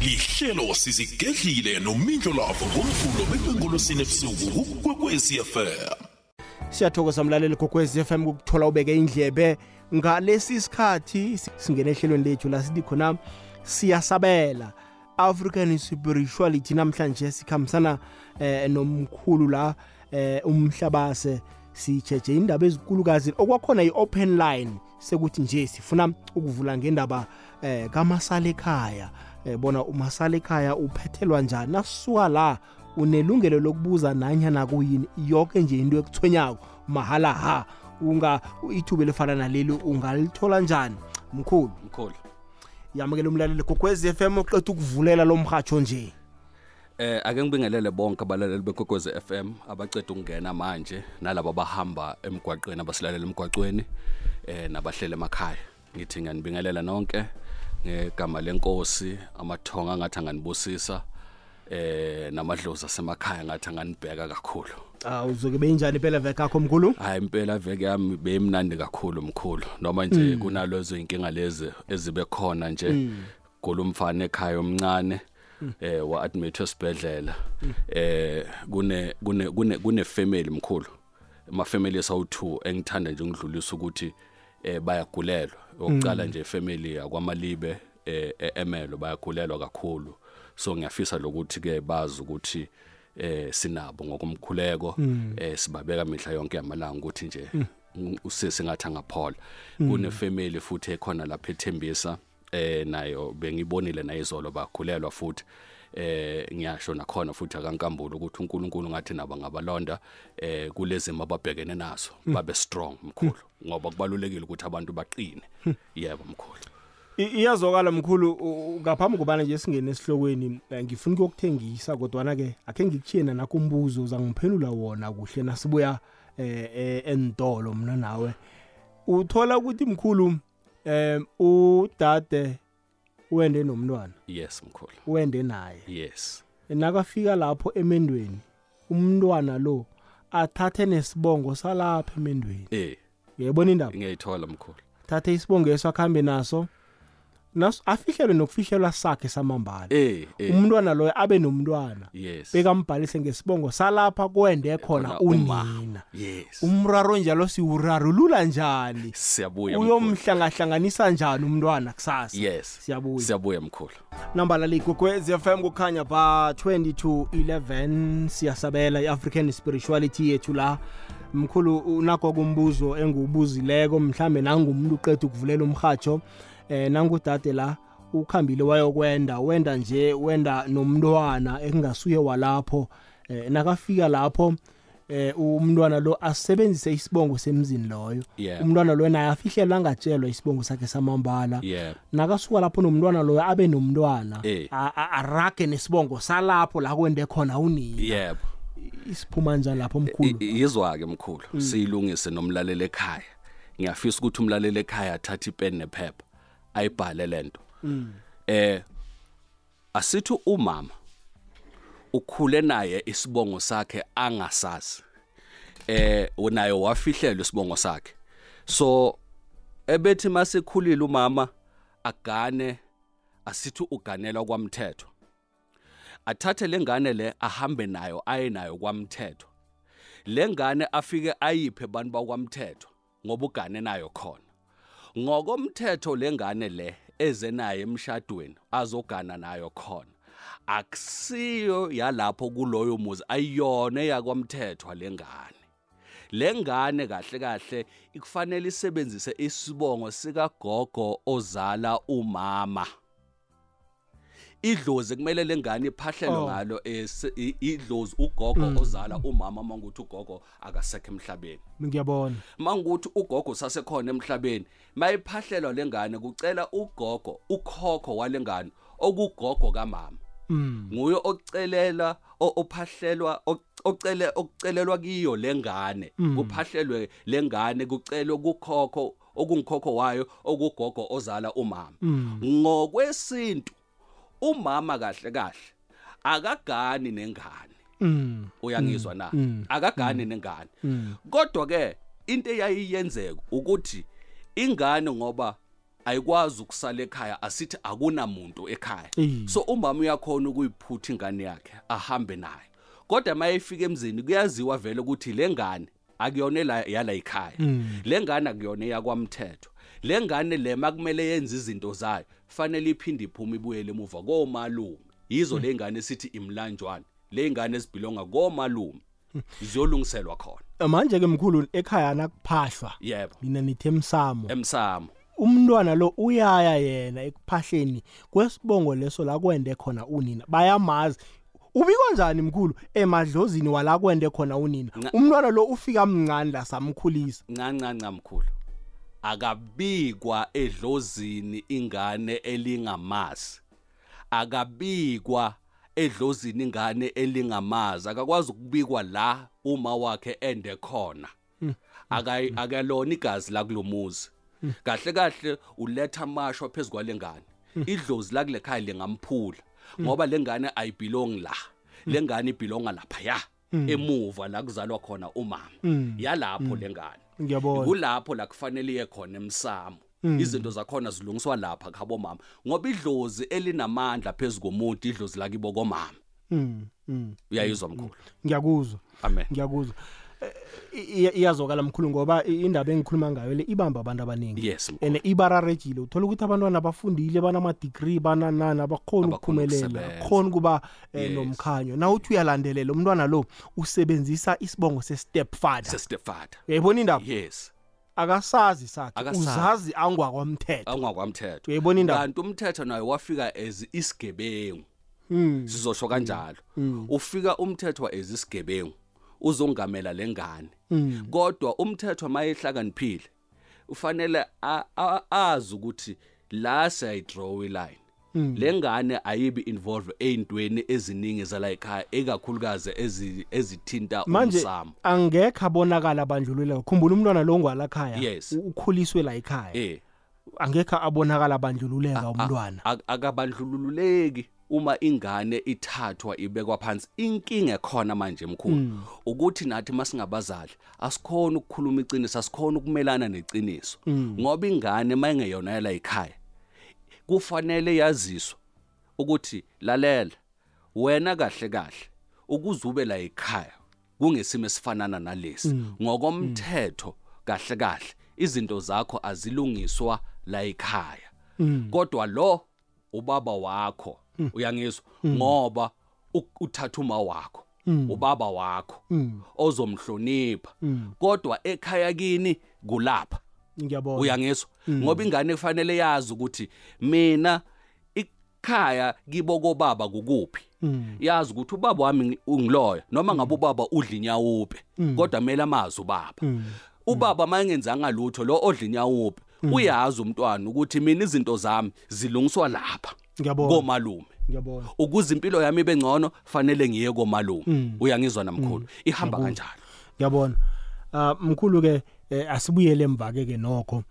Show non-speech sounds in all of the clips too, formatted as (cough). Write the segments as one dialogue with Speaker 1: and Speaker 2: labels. Speaker 1: lihlelo sizigedlile nomindlo lavo ngomvulo bekwengolosini ebusuku kukwekwecfm
Speaker 2: siyathokoza mlaleli kokwez f m kukuthola ubeke indlebe ngalesi sikhathi singene ehlelweni lethu la sithi khona siyasabela african spirituality namhlanje sikhambisana eh, nomkhulu la eh, umhlabase sijeje indaba ezikulukazi okwakhona i-open line sekuthi nje sifuna ukuvula ngendaba eh, kamasala ekhaya eh, bona umasala ekhaya uphethelwa njani nasuka la unelungelo lokubuza nanyana kuyini yonke nje into ekuthonyako mahala ha unga ithuba elifana naleli ungalithola njani mkhulu
Speaker 3: mkhulu
Speaker 2: yamukela umlaleli gogwez f m uqeda ukuvulela lo mrhatsho nje
Speaker 3: eh ake ngibingelele bonke abalaleli bekwekwezi FM abaceda ukungena manje nalabo abahamba emgwaqweni abasilalela emgwaqweni eh nabahlele emakhaya ngithi ngiyanibingelela nonke ngegama lenkosi amathonga angathi anganibusisa eh namadlozi asemakhaya ngathi anganibheka kakhulu
Speaker 2: aw uzoke beyinjani impela veke akho mkhulu
Speaker 3: hayi impela veke yami beyimnandi kakhulu mkhulu noma nje mm. kunalezo inkinga lezi ezibe khona nje
Speaker 4: Hmm.
Speaker 3: mm.
Speaker 4: 음,
Speaker 3: kulumfana ekhaya omncane mm. eh wa admit esibhedlela mm. eh kune kune kune kune family mkhulu ama family sawu 2 engithanda nje ngidlulisa ukuthi eh bayagulelwa yokuqala mm. nje family akwamalibe eh emelo bayagulelwa kakhulu so ngiyafisa lokuthi ke bazi ukuthi eh sinabo ngokomkhuleko eh sibabeka mihla yonke yamalanga ukuthi nje u- usisi ngathi angaphola kune family futhi ekhona lapha ethembisa eh nayo bengibonile naye izolo bakhulelwa futhi eh ngiyasho nakhona futhi akankambulo ukuthi uNkulunkulu ngathi nabo ngabalonda eh kulezimo ababhekene nazo babe strong mkhulu ngoba kubalulekile ukuthi abantu baqine yebo mkhulu
Speaker 2: I- iyazwakala mkhulu u- u- ngaphambi kobana nje singene esihlokweni eh, ngifuna ukuyokuthengisa kodwana-ke akhe ngikutshiyena nakho umbuzo uzangiphendula wona kuhle nasibuya eh, eh, entolo mna nawe uthola ukuthi mkhulu um udade wende nomntwana
Speaker 3: yes mkhulu
Speaker 2: wende naye
Speaker 3: yes
Speaker 2: nakafika lapho emendweni umntwana lo athathe nesibongo salapha emendweni
Speaker 3: eh
Speaker 2: uyayibona indaba
Speaker 3: ngiyayithola mkhulu
Speaker 2: thathe isibongeso akuhambe naso naso afihlelwe nokufihlelwa sakhe samambala
Speaker 3: eh eh
Speaker 2: umntwana loyo abe nomntwana
Speaker 3: yes
Speaker 2: bekambhalise ngesibongo salapha kwende khona
Speaker 3: Khona uma.
Speaker 2: unina
Speaker 3: yes
Speaker 2: umraro njalo siwurarulula njani
Speaker 3: siyabuya mkhulu.
Speaker 2: uyomhlangahlanganisa njani umntwana kusasa
Speaker 3: yes
Speaker 2: siyabuya
Speaker 3: siyabuya mkhulu
Speaker 2: nambala ligogwez fm kukhanya ba 2211 siyasabela i-african spirituality yethu la mkhulu unakho kumbuzo engiwubuzileko mhlambe nangumuntu uqeda ukuvulela umrhatsho eh nangudade la ukhambile wayokwenda wenda nje wenda nomntwana ekungasuye walapho eh, nakafika lapho eh umntwana lo asebenzise isibongo semzini loyo
Speaker 3: Yeah.
Speaker 2: umntwana lo naye afihlelwa angatshelwa isibongo sakhe samambala
Speaker 3: yeah
Speaker 2: nakasuka lapho nomntwana loyo abe nomntwana
Speaker 3: Eh.
Speaker 2: a- a- arage nesibongo salapho la kwende khona unini
Speaker 3: yebo
Speaker 2: isiphuma njani lapho
Speaker 3: I-
Speaker 2: omkhulu
Speaker 3: i- yizwa-ke mkhulu siyilungise nomlaleli ekhaya ngiyafisa ukuthi umlaleli ekhaya athathe ipeni nephepha ayibhale le nto eh asithi umama ukhule naye isibongo sakhe angasazi eh unaye wafihlelwa isibongo sakhe so ebethi masekhulile umama agane asithi uganelwa kwamthetho athathe lengane le ahambe nayo aye nayo kwamthetho le ngane afike ayiphe abantu bakwamthetho ngoba ugane nayo khona ngokomthetho le ngane le eze naye emshadweni azogana nayo khona akusiyo yalapho kuloyo muzi ayiyona eyakwamthethwa le ngane le ngane kahle kahle ikufanele isebenzise isibongo sikagogo ozala umama idlozi kumele lengane iphahlelwe
Speaker 2: Oh.
Speaker 3: ngalo es- i- idlozi ugogo ozala umama manguthi ugogo akasekho emhlabeni
Speaker 2: ngiyabona
Speaker 3: manguthi ugogo sasekhona emhlabeni mayiphahlelwa lengane kucela ugogo ukhokho walengane okugogo kamama
Speaker 4: 음,
Speaker 2: mm.
Speaker 3: nguye ocelela o- ophahlelwa o- ocele okucelelwa kiyo lengane kuphahlelwe lengane kucelwe kukhokho okungikhokho wayo okugogo ozala
Speaker 4: 음,
Speaker 3: umama
Speaker 4: Mm.
Speaker 3: ngokwesintu umama kahle kahle akagani nengane
Speaker 4: 음,
Speaker 2: Mm.
Speaker 3: uyangizwa na akagani nengane kodwa ke into eyayiyenzeka ukuthi ingane ngoba ayikwazi ukusala ekhaya asithi akunamuntu ekhaya
Speaker 2: Mm.
Speaker 3: so umama uyakhona ukuyiphutha ingane yakhe ahambe nayo kodwa uma efika emzini kuyaziwa vele ukuthi le ngane akuyona la- yala ekhaya le ngane akuyona eyakwamthetho le ngane le makumele yenze izinto zayo fanele iphinde iphume ibuyele emuva komalume yizo le ngane sithi imlanjwane le ngane ezibhilonga komalume ziyolungiselwa khona
Speaker 2: manje ke mkhulu ekhaya nakuphahlwa
Speaker 3: yebo
Speaker 2: mina nithe msamo
Speaker 3: emsamo
Speaker 2: umntwana lo uyaya yena ekuphahleni kwesibongo leso la kwende khona unina bayamazi ubikwa njani mkhulu emadlozini wala kwende khona unina
Speaker 3: Nca-
Speaker 2: umntwana lo ufika mncane la samkhulisa
Speaker 3: ncancanca mkhulu akabikwa edlozini ingane elingamazi akabikwa edlozini ingane elingamazi akakwazi ukubikwa la uma wakhe ende khona akayi akalona igazi la kulomuzi kahle kahle uletha amasho phezulu kwalengane idlozi la kule khaya lingamphula ngoba lengane ayibelong la lengane ibelonga lapha ya
Speaker 2: Hmm.
Speaker 3: emuva la kuzalwa khona umama yalapho lengane
Speaker 2: ngiyabona
Speaker 3: kulapho la kufanele iye khona emsamo
Speaker 2: Hmm.
Speaker 3: izinto zakhona zilungiswa lapha khabo mama ngoba idlozi elinamandla phezu komuntu idlozi lakibo komama
Speaker 2: Mm, mm.
Speaker 3: uyayizwa mkhulu
Speaker 2: ngiyakuzwa
Speaker 3: amen
Speaker 2: ngiyakuzwa Eh, i- i- iyazwakala mkhulu ngoba i- indaba engikhuluma ngayo le ibamba abantu abaningi
Speaker 3: yes mkhulu.
Speaker 2: and ibararejile uthola ukuthi abantwana bafundile banama-degree bananani abakhona
Speaker 3: Abakhona
Speaker 2: ukuphumelela
Speaker 3: ukusebenza.
Speaker 2: akhona ukuba eh,
Speaker 3: Yes.
Speaker 2: nomkhanyo na uthi uyalandelela umntwana lo usebenzisa isibongo se-step father
Speaker 3: sesitefata
Speaker 2: uyayibona indaba
Speaker 3: yes
Speaker 2: akasazi sakhe
Speaker 3: Akasazi.
Speaker 2: uzazi angwakwamthetho
Speaker 3: angakwamthetho
Speaker 2: uyayibona indaba
Speaker 3: kanti umthetho nayo wafika as isigebengu
Speaker 4: 음,
Speaker 2: Mm,
Speaker 3: sizosho kanjalo ufika umthetho wa as isigebengu uzongamela lengane
Speaker 4: 음,
Speaker 2: mm,
Speaker 3: kodwa umthetho mayehlakaniphile ufanele a- a- azi ukuthi la siyayidraw iline
Speaker 4: 음,
Speaker 2: Mm.
Speaker 3: le ngane ayibi involved ey'ntweni eziningi zala ekhaya ikakhulukazi ezi- ezithinta
Speaker 2: manje
Speaker 3: Ah, umsamo
Speaker 2: angekho abonakala abandlululeka khumbula umntwana lo ngwalakhaya
Speaker 3: Yes.
Speaker 2: u- ukhuliswe la ekhaya
Speaker 3: eh
Speaker 2: angekho abonakala abandlululeka
Speaker 3: a-
Speaker 2: umntwana
Speaker 3: a- akabandlululeki Ah, uma ingane ithathwa ibekwa phansi inkinga ekhona manje mkhulu ukuthi nathi masingabazali asikhona ukukhuluma iciniso asikhona ukumelana neciniso ngoba ingane mayingeyona yala ekhaya kufanele yaziswe ukuthi lalela wena kahle kahle ukuze ube la ekhaya kungesimo esifanana nalesi ngokomthetho kahle kahle izinto zakho azilungiswa la ekhaya
Speaker 5: Mm.
Speaker 3: kodwa lo ubaba wakho uyangizwa ngoba u- uthatha uma wakho ubaba wakho
Speaker 2: Mm,
Speaker 3: ozomhlonipha kodwa ekhaya kini kulapha
Speaker 2: ngiyabona
Speaker 3: uyangizwa ngoba ingane kufanele yazi ukuthi mina ikhaya kibo kobaba kukuphi
Speaker 4: 음,
Speaker 3: yazi ukuthi ubaba wami ngi- ungiloyo noma ngabe ubaba udla inyawuphi kodwa kumele amazi ubaba
Speaker 4: 음,
Speaker 3: ubaba mayengenzanga lutho lo odla inyawuphi
Speaker 2: Mm.
Speaker 3: uyazi umntwana ukuthi mina izinto zami zilungiswa lapha
Speaker 2: ngiyabona
Speaker 3: komalume
Speaker 2: ngiyabona
Speaker 3: ukuze impilo yami ibe ngcono fanele ngiye
Speaker 2: Mm.
Speaker 3: komalume uyangizwa namkhulu ihamba kanjalo
Speaker 2: ngiyabona Ah, mkhulu ke eh, asibuyele emva ke ke nokho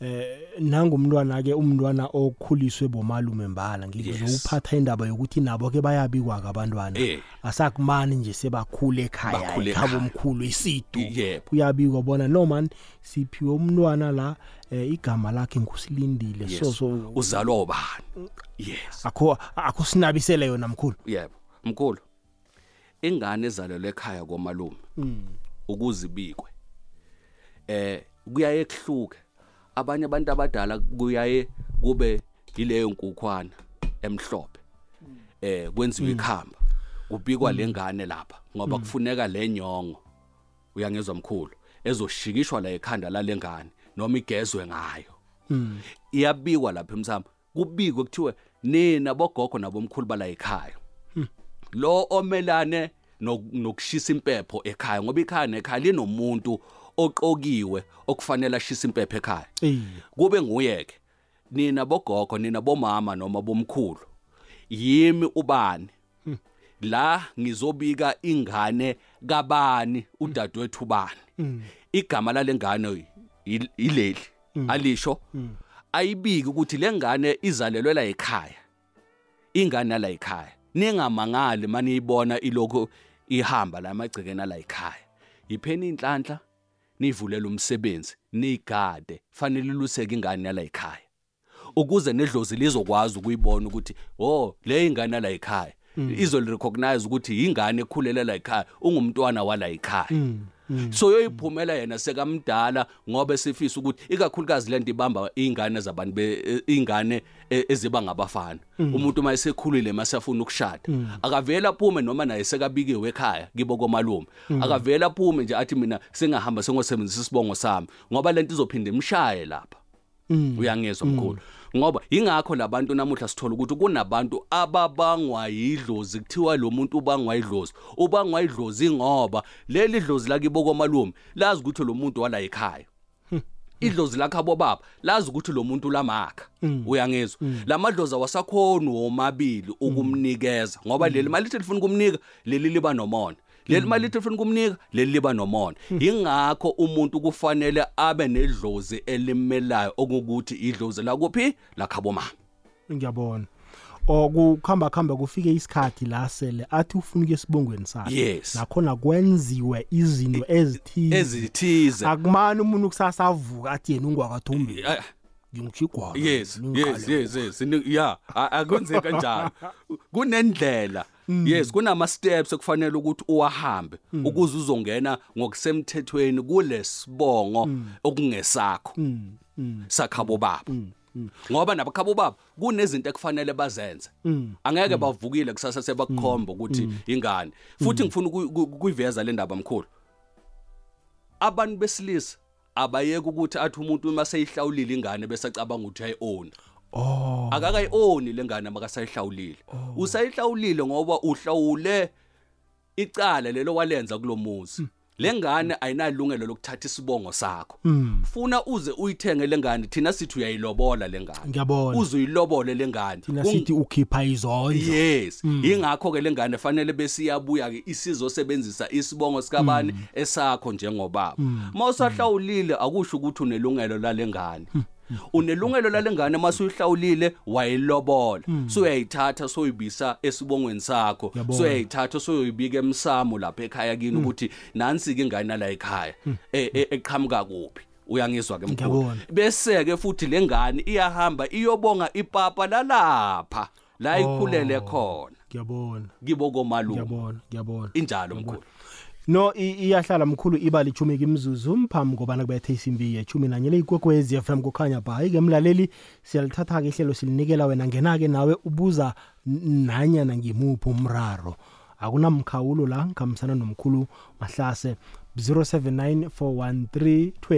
Speaker 2: eh nangumntwana ke umntwana okhuliswe bomalume mbala
Speaker 3: Yes.
Speaker 2: ngizowuphatha indaba yokuthi nabo ke bayabikwa kabantwana
Speaker 3: Eh.
Speaker 2: asakumani nje sebakhule ekhaya
Speaker 3: Bakhule
Speaker 2: ekhabo
Speaker 3: ekhaya.
Speaker 2: omkhulu isidu
Speaker 3: Yebo.
Speaker 2: uyabikwa bona no man siphiwe umntwana la eh, igama lakhe ngusilindile
Speaker 3: yes
Speaker 2: so so
Speaker 3: uzalwa ubani yes
Speaker 2: akho akusinabisele yona mkhulu
Speaker 3: yebo mkhulu ingane ezalelwe ekhaya komalume Mm. ukuzibikwe eh kuyaye kuhluke abanye abantu abadala kuyaye kube yileyo nkukhwana emhlophe eh kwenziwe ikhamba kubikwa lengane lapha ngoba kufuneka lenyongo uyangezwa mkhulu ezoshikishwa la ekhanda lalengane noma igezwe ngayo iyabikwa lapha emsamo kubikwe kuthiwe nina bogogo nabomkhulu bala ekhaya lo omelane nok- nokushisa impepho ekhaya ngoba ikhaya nekhaya linomuntu oqokiwe okufanele ashisa impepho ekhaya
Speaker 2: eh
Speaker 3: kube nguye ke nina bogogo nina bomama noma bomkhulu yimi ubani la ngizobika ingane kabani udadewethu
Speaker 2: Mm.
Speaker 3: bani igama lalengane yil- yileli alisho
Speaker 4: 음,
Speaker 3: ayibiki ukuthi lengane izalelwe la ekhaya ingane la ekhaya ningamangali mani ibona iloko ihamba la emagcekeni ala ekhaya yipheni inhlanhla nivulele umsebenzi niyigade fanele iluseke ingane yala ekhaya ukuze nedlozi lizokwazi ukuyibona ukuthi oh le ingane la ekhaya izolirecognize ukuthi ingane ekhulela la ekhaya ungumntwana wala ekhaya
Speaker 6: Hmm.
Speaker 3: so yoyiphumela yena sekamdala ngoba sifisa ukuthi ikakhulukazi lento ibamba ingane zabantu be- e- ingane e- eziba ngabafana umuntu uma esekhulile masafuna ukushada
Speaker 6: Hmm.
Speaker 3: akavela aphume noma naye sekabikiwe ekhaya kibo komalume akavela aphume nje athi mina sengahamba sengosebenzisa isibongo sami ngoba lento izophinde imshaye lapha
Speaker 4: Mm.
Speaker 3: uyangezwa mkhulu ngoba ingakho labantu namuhla sithola ukuthi kunabantu ababangwa yidlozi kuthiwa lo muntu ubangwa idlozi ubangwa idlozi ngoba leli dlozi lakibo kwamalume lazi ukuthi lo muntu wala ekhaya idlozi lakhabo baba lazi ukuthi lo muntu lamakha Mm.
Speaker 4: 음,
Speaker 3: uyangizwa lamadlozi awasakhona womabili ukumnikeza ngoba leli malithi lifuna ukumnika leli liba nomona leli malithi lifuna ukumnika leli liba nomona ingakho umuntu kufanele abe nedlozi elimelayo okukuthi idlozi lakuphi lakhabo mama
Speaker 2: ngiyabona okukhamba khamba kufike isikhathi la sele athi ufuna ukuya esibongweni sakhe
Speaker 3: Yes.
Speaker 2: nakhona kwenziwe izinto ezithize
Speaker 3: ezithize
Speaker 2: akumani umuntu ukusasavuka athi yena ungwakathombeni
Speaker 3: Ah,
Speaker 2: ngingijigwala
Speaker 3: Oh, yes yes yes yes Ni- yeah a- akwenzeka njalo kunendlela yes kunama steps ekufanele ukuthi uwahambe ukuze uzongena ngokusemthethweni kulesibongo okungesakho sakhabo baba ngoba nabakhabo baba kunezinto ekufanele bazenze angeke bavukile kusasa sebakukhomba ukuthi ingane futhi ngifuna ukuy- ku- kuyiveza le ndaba mkhulu abantu besilisa abayeke ukuthi athi umuntu uma seyihlawulile ingane bese acabanga ukuthi uyayi-own
Speaker 2: oh
Speaker 3: akakayi-owni le ngane makasayihlawulile usayihlawulile ngoba uhlawule icala lelo walenza kulo muzi le ngane ayinalungelo lokuthatha isibongo sakho
Speaker 2: Hmm.
Speaker 3: funa uze uyithenge le ngane thina sithi uyayilobola le ngane
Speaker 2: ngiyabona
Speaker 3: uze uyilobole le ngane
Speaker 2: thina
Speaker 3: Kung-
Speaker 2: sithi ukhipha izondlo
Speaker 3: yes ingakho ke lengane fanele besiyabuya ke isizosebenzisa isibongo sikabani esakho njengobaba mawusahlawulile akusho ukuthi unelungelo lalengane unelungelo lalengane masuyihlawulile wayilobola soyayithatha soyibisa esibongweni sakho
Speaker 2: Ngiyabona.
Speaker 3: soyayithatha soyoyibika emsamo lapha ekhaya kini ukuthi nansi ke ingane la ekhaya e- e- eqhamuka kuphi uyangizwa ke mkhulu
Speaker 2: Ngiyabona.
Speaker 3: bese ke futhi lengane iyahamba iyobonga ipapa lalapha la ikhulele khona
Speaker 2: Oh, ngiyabona
Speaker 3: kibo komalume
Speaker 2: ngiyabona ngiyabona
Speaker 3: injalo mkhulu
Speaker 2: no i- iyahlala mkhulu iba lichumi kimzuzu mphambi kobana kubethe isimbi yechumi nanye leyikwekwez f m kukhanya bhayi-ke mlaleli siyalithatha-ke ihlelo silinikela wena ngena-ke nawe ubuza n- nanyana ngimuphi umraro akunamkhawulo la ngihambisana nomkhulu mahlase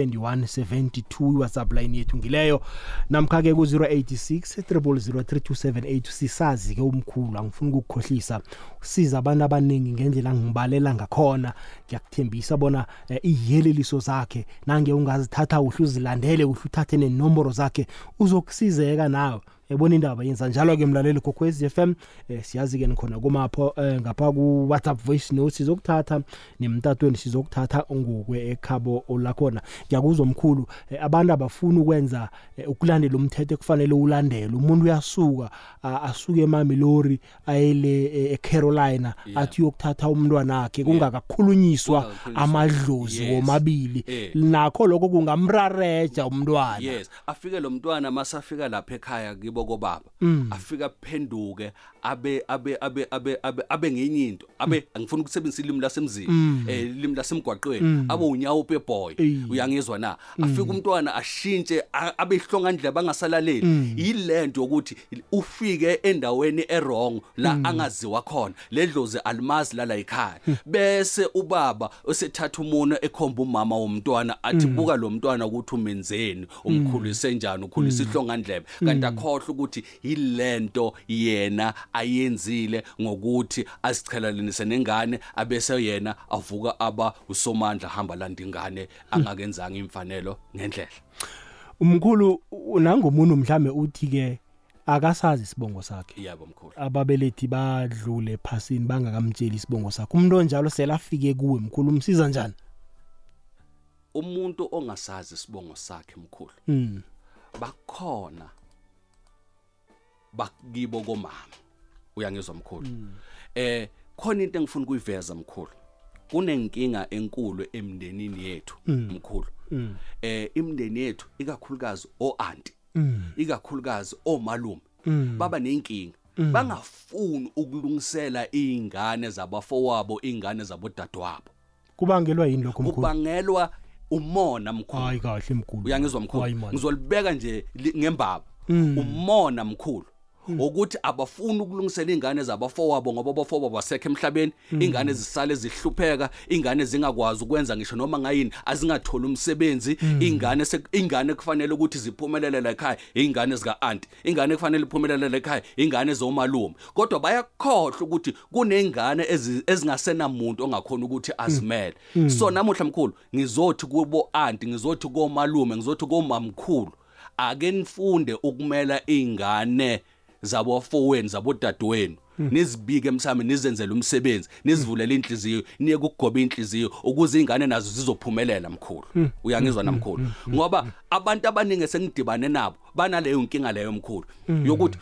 Speaker 2: 07941321172 whatsapp line yethu ngileyo namkha-ke ku-086 3003278 sisazi-ke umkhulu angifuni ukukukhohlisa usiza abantu abaningi ngendlela ngibalela ngakhona ngiyakuthembisa bona eh, iyeleliso zakhe nange ungazithatha uhle uzilandele uhle uthathe nenomboro zakhe uzokusizeka nawe ebona indaba yenza njalo-ke mlaleli kokwez f m um siyazi-ke nikhona kumapho um ngapha ku-whatsapp voice note sizokuthatha nemtatweni sizokuthatha ngokwe ekhabo lakhona ngiyakuzwa omkhulu eh, abantu abafuni ukwenza eh, ukulandela umthetho ekufanele ulandele umuntu uyasuka a- asuke emamilori ayele eh, ecarolina athi uyokuthatha umntwana wakhe kungakakhulunyiswa
Speaker 3: Kungakakhulunyiswa.
Speaker 2: amadlozi
Speaker 3: Yes.
Speaker 2: womabili
Speaker 3: Eh.
Speaker 2: nakho lokho kungamrareja umntwana
Speaker 3: yes afike lo mntwana masafika lapha ekhaya kibo kobaba afika phenduke abe abe abe abe abe abe ngenye into abe angifuni ukusebenzisa ilimi lasemzini eh ilimi lasemgwaqweni abe unyawo peboy
Speaker 2: Ey.
Speaker 3: uyangizwa na afika umntwana ashintshe a- abe ihlonga ndlebe angasalaleli yilento yokuthi ufike endaweni errong la angaziwa khona ledlozi alimazi lala ekhaya bese ubaba usethatha umuntu ekhomba umama womntwana athi buka lo mntwana ukuthi umenzeni umkhulise njani ukhulisa ihlonga ndlebe kanti akhohle ukuthi yilento yena ayenzile ngokuthi azichelelanise nengane abese yena avuka aba usomandla hamba landa ingane angakenzanga imfanelo ngendlela
Speaker 2: umkhulu u- nangomuntu mhlambe uthi-ke akasazi isibongo sakhe
Speaker 3: yabo mkhulu
Speaker 2: ababelethi badlule phasini bangakamtsheli isibongo sakhe umuntu onjalo sele afike kuwe mkhulu umsiza njani
Speaker 3: umuntu ongasazi isibongo sakhe mkhulu
Speaker 2: mm.
Speaker 3: bakhona bakibo komama uyangizwa mkhulu eh khona into engifuna ukuyiveza mkhulu kunenkinga enkulu
Speaker 2: Mm.
Speaker 3: emndenini yethu mkhulu eh imndeni yethu ikakhulukazi oanti ikakhulukazi omalume
Speaker 2: Mm.
Speaker 3: baba nenkinga bangafuni ukulungisela izingane zabafowabo izingane zabodadewabo
Speaker 2: kubangelwa yini lokho mkhulu
Speaker 3: kubangelwa umona mkhulu
Speaker 2: hayi kahle mkhulu
Speaker 3: uyangizwa
Speaker 2: Hayi, Mm.
Speaker 3: mkhulu
Speaker 2: man.
Speaker 3: ngizolibeka nje li- ngembaba
Speaker 4: 음,
Speaker 3: umona mkhulu ukuthi abafuni ukulungisela ingane zabafowabo ngoba abafowabo basekho emhlabeni ingane zisale zihlupheka ingane zingakwazi ukwenza ngisho noma ngayini azingatholi umsebenzi ingane se- ingane kufanele ukuthi ziphumelele la ekhaya ingane zika aunti ingane kufanele iphumelele la ekhaya ingane zomalume kodwa bayakhohlwa ukuthi kunengane ezi- ezingasenamuntu ongakhona ukuthi azimele so namuhla mkhulu ngizothi kubo aunti ngizothi komalume ngizothi komamkhulu ake nifunde ukumela ingane zabafowenu zabodadewenu nizibike emsame nizenzele umsebenzi nizivulele inhliziyo niye kugoba inhliziyo ukuze ingane nazo zizophumelela mkhulu uyangizwa namkhulu ngoba abantu abaningi sengidibane nabo banaleyo nkinga leyo mkhulu yokuthi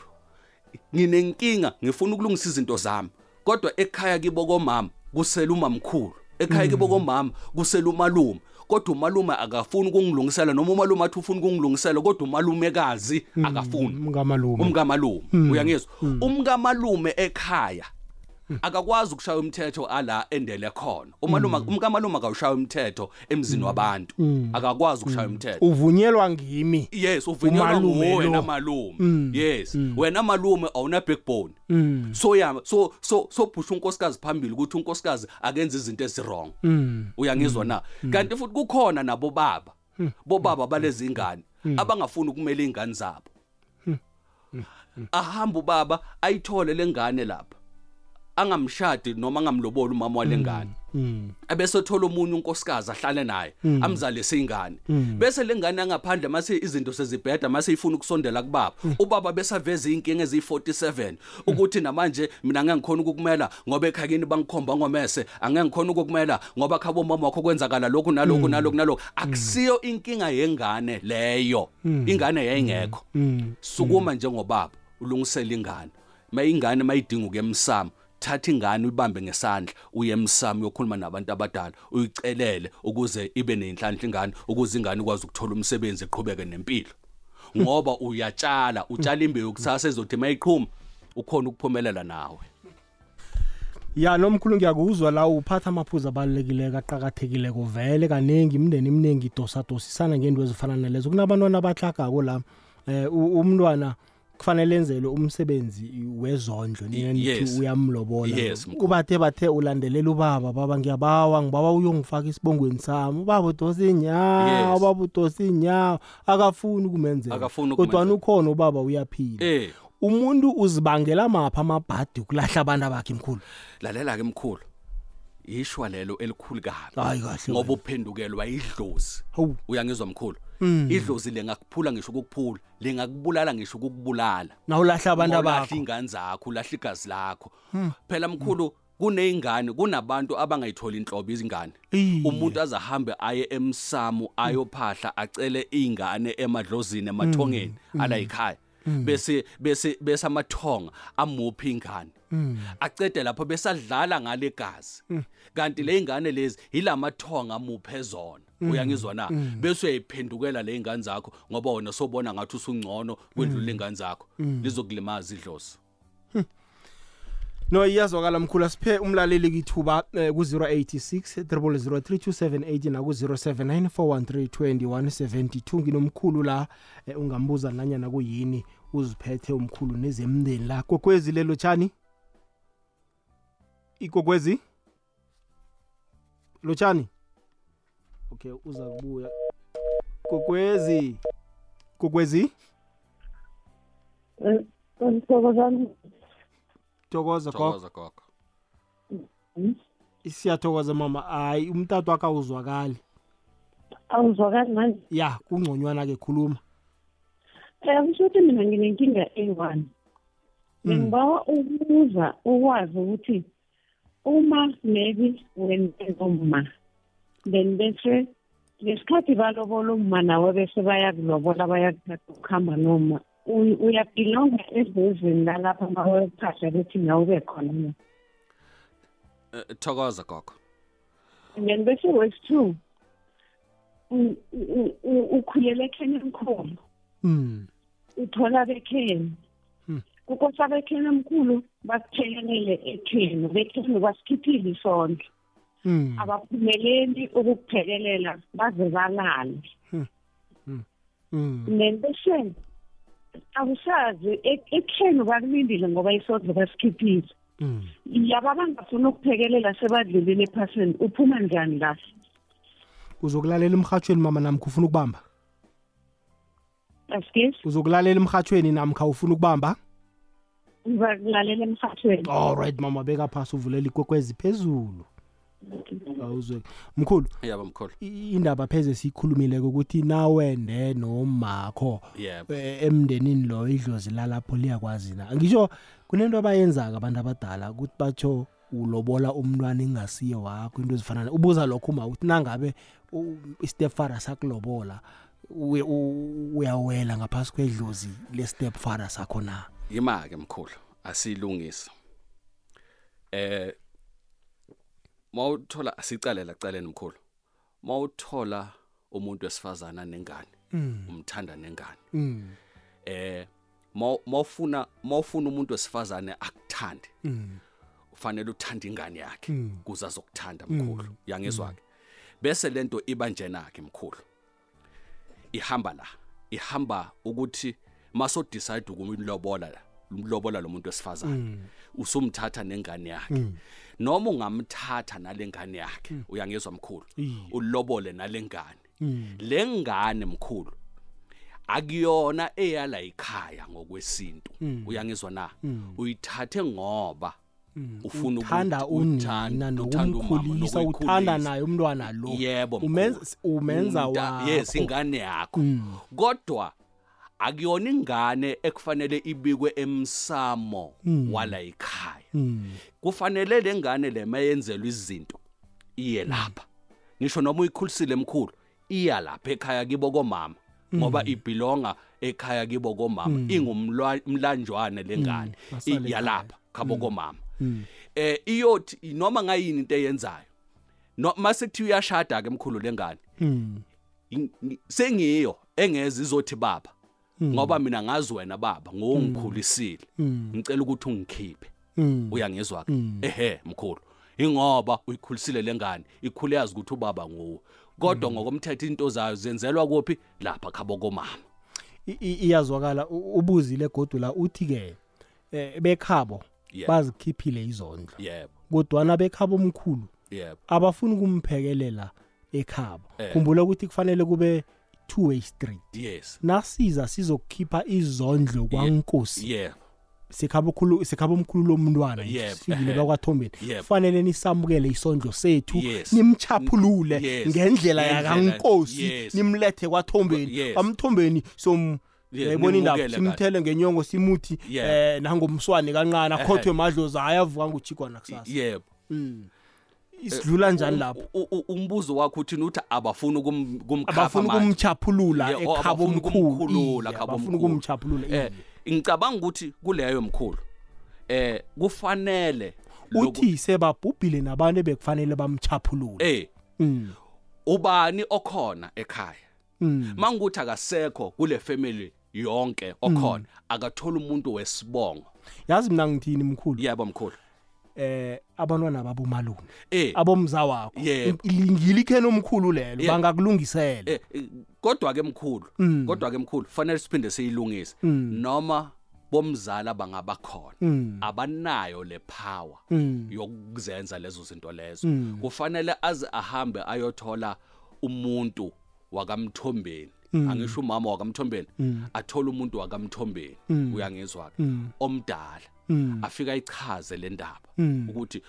Speaker 3: nginenkinga ngifuna ukulungisa izinto zami kodwa ekhaya kibo komama kusela umamkhulu ekhaya kibo
Speaker 2: Mm.
Speaker 3: komama kusela umalume kodwa umalume akafuni ukungilungisela noma umalume athi ufuna ukungilungisela kodwa umalumekazi
Speaker 2: Mm,
Speaker 3: akafuni
Speaker 2: mngamalume
Speaker 3: umkamalume
Speaker 2: Mm,
Speaker 3: uyangizwa umkamalume ekhaya
Speaker 2: Mm.
Speaker 3: akakwazi ukushaya umthetho ala endele khona umalume
Speaker 2: Mm.
Speaker 3: umkamalume akawushaya umthetho emzini wabantu akakwazi ukushaya umthetho
Speaker 2: uvunyelwa ngimi
Speaker 3: yes uvunyelwa
Speaker 2: Mm. Umalume
Speaker 3: nguwe
Speaker 2: lo. Mm,
Speaker 3: namalume yes wena malume awuna backbone
Speaker 4: 음,
Speaker 3: so ya so so so phusha unkosikazi phambili ukuthi unkosikazi akenze izinto ezirong
Speaker 4: 음,
Speaker 3: uyangizwa na kanti futhi kukhona nabo baba bobaba balezi ingane abangafuni ukumela ingane zabo ahamba ubaba ayithole lengane lapha angamshadi noma angamloboli umama walengane abese thola omunye unkosikazi ahlale naye amzalise ingane
Speaker 7: Mm.
Speaker 3: bese lengane angaphandle mase izinto sezibhedda mase ifuna ukusondela kubaba ubaba besaveza inkinga eziyi47 ukuthi namanje mina angeke ngikhona ukukumela ngoba ekhakeni bangikhomba ngomese angeke ngikhona ukukumela ngoba khabo mama wakho kwenzakala lokhu nalokhu nalokhu nalokhu akusiyo inkinga yengane leyo ingane yayingekho
Speaker 4: 음,
Speaker 3: sukuma njengobaba ulungisele ingane mayingane mayidinga ukuyemsamo thatha ingane uyibambe ngesandla uye emsamo uyokhuluma nabantu abadala uyicelele ukuze ibe nenhlanhla ingane ukuze ingane ikwazi ukuthola umsebenzi iqhubeke nempilo ngoba uyatshala utshala imbewu kusasa ezothi mayiqhuma ukhona ukuphumelela nawe
Speaker 2: ya nomkhulu ngiyakuzwa la uphatha amaphuzu abalulekileko aqakathekileko vele kaningi imndeni iminingi idosadosisana ngento ezifana nalezo kunabantwana abahlagako la um umntwana kufanele enzelwe umsebenzi wezondlo nina nithi
Speaker 3: yes.
Speaker 2: uyamlobola
Speaker 3: Yes, mkhulu.
Speaker 2: ubathe bathe ulandelela ubaba baba ngiyabawa ngibaba uyongifaka esibongweni sami ubaba udosa inyawo
Speaker 3: Yes.
Speaker 2: ubaba udosa inyawo akafuni ukumenzela
Speaker 3: Akafuni
Speaker 2: kodwana
Speaker 3: ukumenzela.
Speaker 2: ukhona ubaba uyaphila
Speaker 3: eh
Speaker 2: umuntu uzibangela maphi amabhadi ukulahla abantu abakhe mkhulu
Speaker 3: lalela ke mkhulu ishwa lelo elikhulu kabi
Speaker 2: Hayi, kahle
Speaker 3: ngoba uphendukelwa idlozi
Speaker 2: hawu Mm.
Speaker 3: uyangizwa mkhulu idlozi lengakuphula ngisho ukukuphula lengakubulala ngisho ukukubulala
Speaker 2: nawulahla abantu
Speaker 3: ulahla
Speaker 2: abakho
Speaker 3: ingane zakho ulahla igazi lakho phela mkhulu kuneyingane kunabantu abangayitholi inhlobo izingane
Speaker 2: Iye.
Speaker 3: umuntu azahambe aye emsamo ayophahla acele ingane emadlozini emathongeni
Speaker 2: Mm.
Speaker 3: ala yikhaya bese bese bese amathonga amuphi ingane acede lapho besadlala ngale gazi kanti le ingane lezi ilamathonga amuphe zona uyangizwa na bese uyayiphendukela le ingane zakho ngoba wona sobona ngathi usungcono kwedlula ingane zakho lizokulimaza idlozi
Speaker 2: no iyazwakala mkhulu asiphe umlaleli kithuba eh, ku-086 0032780 naku-079 4132172 nginomkhulu la eh, ungambuza nanyana kuyini uziphethe umkhulu nezemndeni la kokwezi lelo tshani ikokwezi lotshani okay uza kubuya kokwezi kokwezi
Speaker 8: Eh, Mhlobo zami,
Speaker 2: thokoza gogo
Speaker 3: thokoza gogo
Speaker 2: siyathokoza Mm-hmm. mama hayi umtata wakho awuzwakali
Speaker 8: awuzwakali manje.
Speaker 2: ya kungconywana ke khuluma
Speaker 8: Eh mshuthi mina nginenkinga eyi-one. Ngibawa ukubuza ukwazi ukuthi uma maybe wena ungumma then bese ngesikhathi balobola umma nawe bese bayakulobola bayakuthatha ukuhamba noma u- uyabhilonga ezizweni lalapha mawekuphahla ukuthi nawe ube khona na
Speaker 3: Eh, thokoza gogo
Speaker 8: And then bese wesi-two u- u- u- ukhulele ekhenya mkhulu
Speaker 2: Mm,
Speaker 8: uthola bekheni kukosa bekheni omkhulu basiphelelele ekheni bekheni basikhiphile isondlo
Speaker 6: Hmm.
Speaker 2: Mm.
Speaker 8: abaphumeleli ukukuphekelela baze balale
Speaker 2: Mm.
Speaker 8: nempeshe akusazi e- ekheni bakulindile ngoba isondlo basikhiphile
Speaker 2: Mm.
Speaker 8: yaba bangafuni ukuphekelela sebadlulile ephasini uphuma njani kahle
Speaker 2: uzokulalela emhatshweni mama namkha ufuna ukubamba
Speaker 8: asikesi
Speaker 2: uzokulalela emhatshweni namkha ufuna ukubamba
Speaker 8: ngizakulalela emhathweni
Speaker 2: allright mama beka phasi uvulela ikwekwezi phezulu awuzwe mkhulu
Speaker 3: yaba mkhulu
Speaker 2: i- indaba pheze siyikhulumileko ukuthi nawende nomakho
Speaker 3: yebo
Speaker 2: eh, emndenini lo idlozi lalapho liyakwazi na ngisho kunento abayenzaka abantu abadala ukuthi batsho ulobola umntwana engasiye wakho into ezifana na- ubuza lokho uma uthi nangabe u- istepfather sakulobola uye- u- uyawela ngaphasi kwedlozi lestepfather sakho na
Speaker 3: yima ke mkhulu asiyilungisa eh mawuthola asicalela caleni mkhulu mawuthola umuntu wesifazana nengane umthanda nengane
Speaker 2: Mm,
Speaker 3: eh maw- mawufuna mawufuna umuntu wesifazane akuthande
Speaker 2: mm,
Speaker 3: ufanele uthanda ingane yakhe
Speaker 2: Mm.
Speaker 3: kuze azokuthanda mkhulu yangezwa ke bese lento iba njena ke mkhulu ihamba la ihamba ukuthi maso decide ukumlobola la umlobola lo muntu wesifazane usumthatha nengane yakhe noma ungamthatha nalengane yakhe uyangezwa mkhulu ulobole
Speaker 4: 음,
Speaker 3: nalengane lengane mkhulu akuyona eyala ikhaya ngokwesintu
Speaker 2: Mm.
Speaker 3: uyangizwa na uyithathe ngoba ufuna
Speaker 2: Mm. uthanda
Speaker 3: ukuthi-
Speaker 2: unina
Speaker 3: uthanda- uthanda umama
Speaker 2: nokumkhulisa
Speaker 3: nokuyikhulisa.
Speaker 2: uthanda naye umntwana lo
Speaker 3: yebo
Speaker 2: Umenza-
Speaker 3: mkhulu.
Speaker 2: umenza
Speaker 3: Umnta- yes
Speaker 2: wakho Mm,
Speaker 3: ingane yakho kodwa akuyona ingane ekufanele ibikwe emsamo wala ikhaya
Speaker 2: Mm,
Speaker 3: kufanele lengane lemayenzelwe izinto iye lapha ngisho noma uyikhulisile emkhulu iya lapha ekhaya kibo komama ngoba ibhilonga ekhaya kibo komama ingumlanjwane lengane
Speaker 2: basale
Speaker 3: iyalapha khabo komama
Speaker 2: mm,
Speaker 3: eh iyothi noma ngayini into eyenzayo no mase kuthi uyashada ke emkhulu lengane
Speaker 2: mm,
Speaker 3: in- ngi- sengiyo engeze izothi baba
Speaker 2: Hmm. Mm.
Speaker 3: ngoba mina ngazi wena baba ngowongikhulisile
Speaker 4: Mm. 음,
Speaker 3: ngicela ukuthi ungikhiphe
Speaker 2: mm.
Speaker 3: uyangizwa ke ehe mkhulu ingoba uyikhulisile lengane ikhule yazi ukuthi ubaba nguwe kodwa
Speaker 2: Mm.
Speaker 3: ngokomthetho into zayo zenzelwa kuphi lapha khabo komama
Speaker 2: I- i- iyazwakala u- ubuzile godula uthi-ke eh, bekhabo
Speaker 3: Yeah.
Speaker 2: bazikhiphile izondlo
Speaker 3: yebo
Speaker 2: kodwana bekhabo omkhulu
Speaker 3: yebo
Speaker 2: abafuni ukumphekelela ekhabo
Speaker 3: Eh.
Speaker 2: khumbula ukuthi kufanele kube two-way street
Speaker 3: yes
Speaker 2: nasiza sizokukhipha izondlo kwankosi
Speaker 3: yebo
Speaker 2: sikhabo khulu- sikhabo omkhulu lomntwana
Speaker 3: Yep,
Speaker 2: sifikile
Speaker 3: (laughs) ehe.
Speaker 2: bakwathombeni
Speaker 3: Yep.
Speaker 2: kufanele nisamukele isondo sethu
Speaker 3: Yes.
Speaker 2: nimchaphulule
Speaker 3: Yes.
Speaker 2: ngendlela
Speaker 3: Ngendlela-
Speaker 2: yakankosi
Speaker 3: yes.
Speaker 2: nimlethe kwathombeni
Speaker 3: Yes.
Speaker 2: kwamthombeni som
Speaker 3: Yes,
Speaker 2: yayibona indaba
Speaker 3: nimukele
Speaker 2: simthele ngenyongo simuthi
Speaker 3: Yeah. Eh.
Speaker 2: eh nangomswane kancane akhothwe madlozi ayavuka nguchigwana kusasa
Speaker 3: yebo
Speaker 2: Mm.
Speaker 3: Eh,
Speaker 2: isidlula njani lapho
Speaker 3: U- u- umbuzo wakho uthini uthi abafuna ukum- ukumkhapha
Speaker 2: abafuna
Speaker 3: manje.
Speaker 2: ukumchaphulula
Speaker 3: Yeah, oh,
Speaker 2: ekhabo
Speaker 3: abafuna
Speaker 2: omkhulu
Speaker 3: ukumkhulula
Speaker 2: Iye,
Speaker 3: khabo
Speaker 2: abafuna
Speaker 3: omkhulu.
Speaker 2: ukumchaphulula
Speaker 3: eh
Speaker 2: iye.
Speaker 3: ngicabanga ukuthi kuleyo mkhulu eh kufanele loku-
Speaker 2: uthi sebabhubhile nabantu ebekufanele bamchaphulule
Speaker 3: eh
Speaker 2: Mm,
Speaker 3: ubani okhona ekhaya
Speaker 2: mm,
Speaker 3: mangukuthi akasekho kule family yonke okhona akathola umuntu wesibongo
Speaker 2: Mm. yazi mina ngithini mkhulu
Speaker 3: yebo mkhulu
Speaker 2: eh abantwana babomalume
Speaker 3: eh
Speaker 2: abomza wakho
Speaker 3: Yebo.
Speaker 2: ngilikheni omkhulu lelo
Speaker 3: Yebo.
Speaker 2: bangakulungisela
Speaker 3: eh eh, kodwa ke mkhulu
Speaker 2: Mm.
Speaker 3: kodwa ke mkhulu fanele siphinde siyilungise
Speaker 2: Mm.
Speaker 3: noma bomzala
Speaker 4: 음,
Speaker 3: bangabakhona
Speaker 2: Mm,
Speaker 3: abanayo le power
Speaker 2: mm,
Speaker 3: yokuzenza lezo zinto lezo
Speaker 2: Mm.
Speaker 3: kufanele aze ahambe ayothola umuntu wakamthombeni
Speaker 2: Mm.
Speaker 3: angisho umama wakamthombeni
Speaker 4: 음,
Speaker 3: athole umuntu wakamthombeni uyangizwa ke omdala
Speaker 2: mm,
Speaker 3: afika ayichaze le ndaba
Speaker 2: Mm.
Speaker 3: ukuthi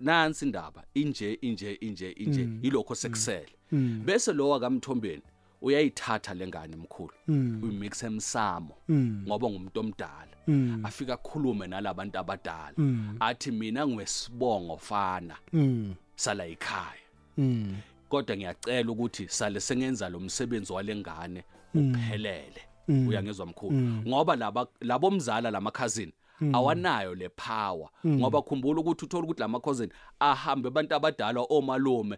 Speaker 3: nansi indaba inje inje inje inje yilokho sekusele
Speaker 4: 음,
Speaker 2: Mm.
Speaker 3: bese lo wakamthombeni uyayithatha lengane mkhulu
Speaker 2: Mm.
Speaker 3: uyimix emsamo
Speaker 2: Mm.
Speaker 3: ngoba ngumuntu omdala
Speaker 2: mm,
Speaker 3: afika akhulume nalabantu abadala
Speaker 2: Mm.
Speaker 3: athi mina ngiwesibongo fana
Speaker 2: mm,
Speaker 3: sala ekhaya
Speaker 2: mm.
Speaker 3: kodwa ngiyacela ukuthi sale sengenza lo msebenzi walengane uphelele uyangezwa mkhulu ngoba laba labomzala lamakhazini awanayo le power ngoba khumbula ukuthi uthola ukuthi lama-cousin ahambe abantu abadalwa omalume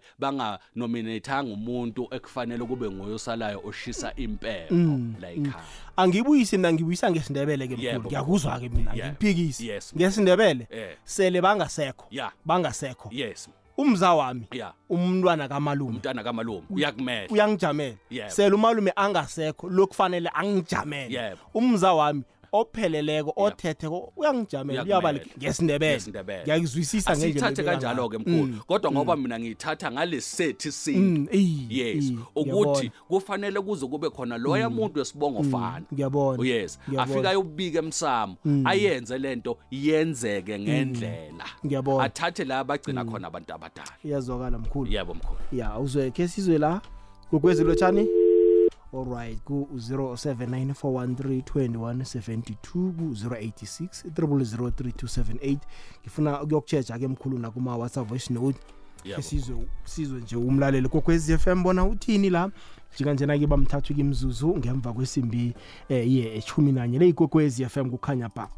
Speaker 3: banganominathanga umuntu ekufanele kube ngoyosalayo oshisa Eh,
Speaker 2: Mm.
Speaker 3: impepho la ekhaya
Speaker 2: angibuyisi mina ngibuyisa ngesindebele ke
Speaker 3: Yebo,
Speaker 2: mkhulu
Speaker 3: baba.
Speaker 2: ngiyakuzwa-ke mina
Speaker 3: Yebo.
Speaker 2: ngiphikise
Speaker 3: Yes.
Speaker 2: ngesindebele
Speaker 3: Eh.
Speaker 2: sele bangasekho
Speaker 3: Yeah.
Speaker 2: bangasekho
Speaker 3: yes
Speaker 2: umza wami
Speaker 3: ya
Speaker 2: umntwana kamalume
Speaker 3: umntana kamalume uyakumela
Speaker 2: uyangijamela
Speaker 3: Yebo.
Speaker 2: sele umalume angasekho lokufanele angijamele
Speaker 3: Yebo.
Speaker 2: umza wami opheleleko othetheko uyangijamela
Speaker 3: Uyakumela.
Speaker 2: uyabaleka ngesindebele
Speaker 3: Ngesindebele.
Speaker 2: ngiyakuzwisisa ngendlela Mm.
Speaker 3: asithathe
Speaker 2: obeka
Speaker 3: kanjalo ke
Speaker 2: ngayo.
Speaker 3: mkhulu kodwa ngoba mina ngiyithatha ngalesethi sintu
Speaker 2: Mm, eyi,
Speaker 3: yes
Speaker 2: eyi, Mm.
Speaker 3: ukuthi
Speaker 2: ngiyabona,
Speaker 3: kufanele kuze kube khona loya muntu wesibongo fana
Speaker 2: Mm. ngiyabona
Speaker 3: yes afika ayobika emsamo
Speaker 2: Mm.
Speaker 3: ayenze lento yenzeke ngendlela
Speaker 2: Ngiyabona.
Speaker 3: athathe la abagcina
Speaker 2: Mm.
Speaker 3: khona abantu abadala
Speaker 2: iyazwakala mkhulu
Speaker 3: yebo mkhulu
Speaker 2: ya uzwe ke sizwe la kukwezi lotshani allright ku-079 413 2172 ku-086 003278 ngifuna ukuyokutsheja ke mkhulu nakuma-whatsapp voice note
Speaker 3: Yebo.
Speaker 2: ke sizwe sizwe nje umlaleli kokwezi f m bona uthini la njenganjena ke bamthathu kimzuzu ngemva kwesimbi um ye eshumi nanye le ikokwezi f m kukhanya ba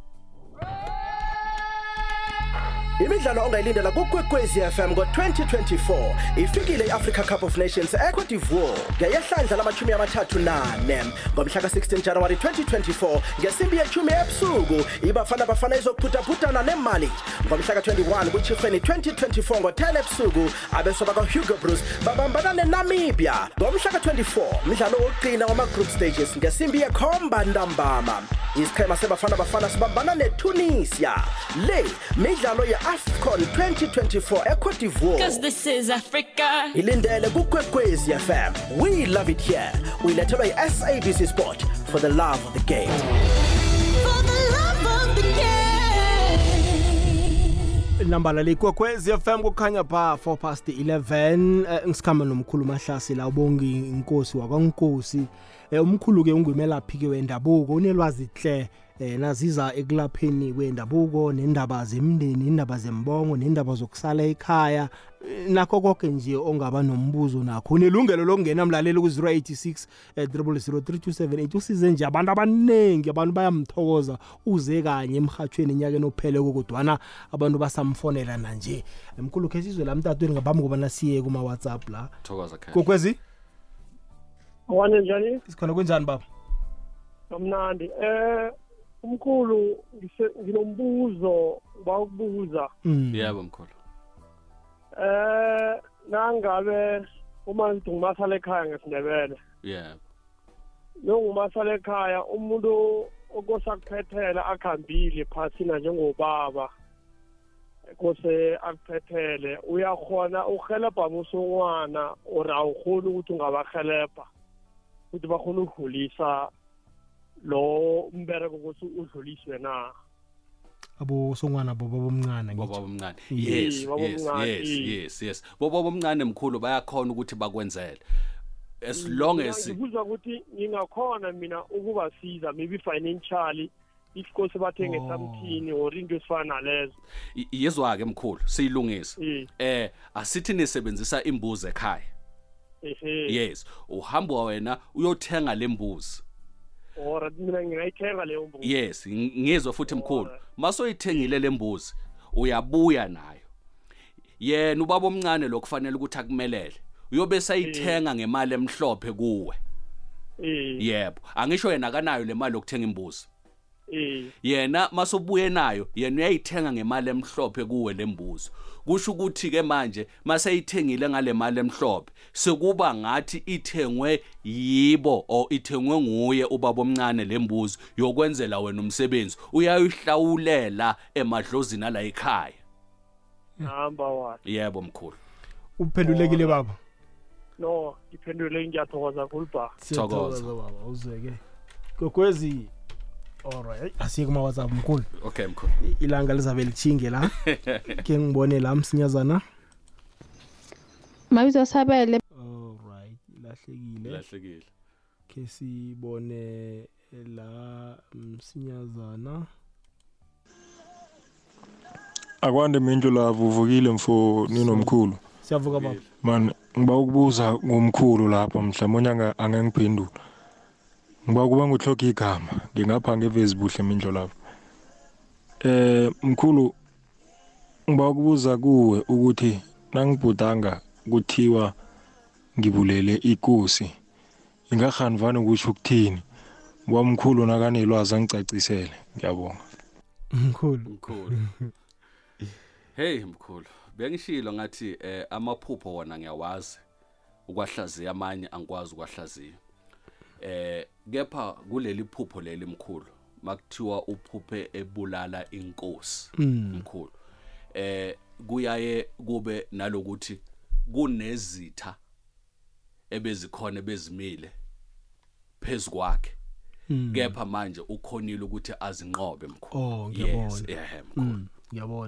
Speaker 9: imidlalo ongayilindela kukwekwezi fm ngo-2024 ifikile i-africa cup of nations ecote divoir ngeyehlandla lamashumi amathathu nane ngomhla ka-16 januwari 2024 ngesimbi yeshumi ebusuku ibafana bafana izokuphuthaphutana nemali ngomhla ka-21 kuchifeni 2024 ngo-10 ebusuku abeso bakahugo bruce babambana nenamibia ngomhla ka-24 mdlalo wokugcina wama-group stages ngesimbi yekhomba ntambama isiqhema sebafana bafana sibambana netunisia le midlalo ye-afcon 2024
Speaker 10: Cause
Speaker 9: ecote divoir
Speaker 10: this is Africa.
Speaker 9: ilindele kukwekwezi fm we love it here uyilethelwa yi-sabc sport for the love of the game
Speaker 10: For the love of the game.
Speaker 2: inambala leyikokwez fm kukhanya ba 4 past 11 eh, ngisikhamba nomkhulu mahlasi la ubongi inkosi wakwankosi Eh, umkhulu-ke ungumelaphi-ke wendabuko unelwazi hle um naziza ekulapheni kwendabuko nendaba zemndeni indaba zembongo nendaba zokusala ekhaya eh, nakho konke nje ongaba nombuzo nakho unelungelo lokungena mlaleli ku-086 3278 usize nje abantu abaningi abantu bayamthokoza uze kanye emhatshweni enyakeni opheleko kodwana abantu basamfonela nanje mkhulu khe sizwe la mtatweni ngaphambi kobana siye kuma-whatsapp la
Speaker 3: thokoza khaya
Speaker 2: kokwezi
Speaker 11: Wane njani?
Speaker 2: sikhona kunjani baba
Speaker 11: Nomnandi. Eh umkhulu ngise- nginombuzo bawukubuza.
Speaker 2: Mm.
Speaker 3: yebo mkhulu
Speaker 11: Eh nangabe uma ngidumasala ekhaya ngesindebele.
Speaker 3: yebo
Speaker 11: Lo ngumasala ekhaya umuntu okosakuphethela akhambile phasina njengobaba. kose akuphethele uyakhona uhelebha musongwana or awukhoni ukuthi ungabahelebha ukuthi bakhona ukudlulisa lo mbereko ukuthi udluliswe na
Speaker 2: abosongwana boba bomncane
Speaker 3: bobaba
Speaker 2: ngithi Yes,
Speaker 3: omncane yes
Speaker 11: bobaba
Speaker 3: yes
Speaker 11: omncane,
Speaker 3: yes
Speaker 11: yes.
Speaker 3: yes yes bobaba omncane mkhulu bayakhona ukuthi bakwenzele as long
Speaker 11: Mina
Speaker 3: as
Speaker 11: ngibuzwa ukuthi ngingakhona mina ukubasiza maybe financially isikose bathenge
Speaker 2: Oh.
Speaker 11: something or into esifana nalezo
Speaker 3: I- yezwa ke mkhulu siyilungise
Speaker 11: Mm.
Speaker 3: eh asithi nisebenzisa imbuzi ekhaya
Speaker 11: ehe
Speaker 3: yes uhamba wena uyothenga lembuzi
Speaker 11: Mm. or mina ngingayithenga leyo
Speaker 3: (laughs)
Speaker 11: mbuzi
Speaker 3: yes ng- ngizwa futhi mkhulu
Speaker 11: Alright.
Speaker 3: masoyithengile lembuzi uyabuya nayo yena ubaba omncane lokufanele ukuthi akumelele uyobe
Speaker 11: Mm.
Speaker 3: sayithenga ngemali emhlophe kuwe
Speaker 11: eh
Speaker 3: yebo angisho yena akanayo le mali yokuthenga imbuzi
Speaker 11: eh
Speaker 3: yena masobuye nayo yena uyayithenga ngemali emhlophe kuwe lembuzo kusho ukuthi ke manje maseyithengile ngale mali emhlophe sekuba ngathi ithengwe yibo or ithengwe nguye ubaba omncane lembuzo yokwenzela wena umsebenzi uyayihlawulela emadlozini ala ekhaya
Speaker 11: number 1
Speaker 3: yebo mkhulu
Speaker 2: uphendulekile baba
Speaker 11: no iphendule ngiyathokoza kulba
Speaker 3: Thokoza.
Speaker 2: Siyathokoza baba uzweke kokwezi allright asiye kuma-whatsapp mkhulu
Speaker 3: okay mkhulu
Speaker 2: I- ilanga lizabe lithinge
Speaker 3: (laughs)
Speaker 2: la ke ngibone la msinyazana
Speaker 12: mabizo sabele
Speaker 2: allright ilahlekile
Speaker 3: lahlekile
Speaker 2: ke sibone la msinyazana
Speaker 13: akwande mindlu la vuvukile mfo ninomkhulu
Speaker 2: siyavuka baba
Speaker 13: man ngiba ukubuza ngomkhulu lapha mhlawumbe anga angangiphendula ngiba kuba ngihloka igama ngingapha ngevezi buhle mindlu lapha
Speaker 14: eh mkhulu ngiba ukubuza kuwe ukuthi nangibhudanga kuthiwa ngibulele ikosi ingahanivani ukusho ukuthini wamkhulu nakanelwazi angicacisele ngiyabonga
Speaker 2: mkhulu
Speaker 3: mkhulu hey mkhulu bengishilo ngathi eh amaphupho wona ngiyawazi ukwahlaziya amanye angikwazi ukwahlaziya eh kepha kuleli phupho leli mkhulu makuthiwa uphuphe ebulala inkosi
Speaker 2: Hmm.
Speaker 3: mkhulu eh kuyaye kube nalokuthi kunezitha ebezikhona bezimile phezukwakhe kepha manje ukhonile ukuthi azinqobe mkhulu
Speaker 2: (laughs) Hmm. Oh,
Speaker 3: yes
Speaker 2: ngiyabona. Mm,
Speaker 3: yeah mkhulu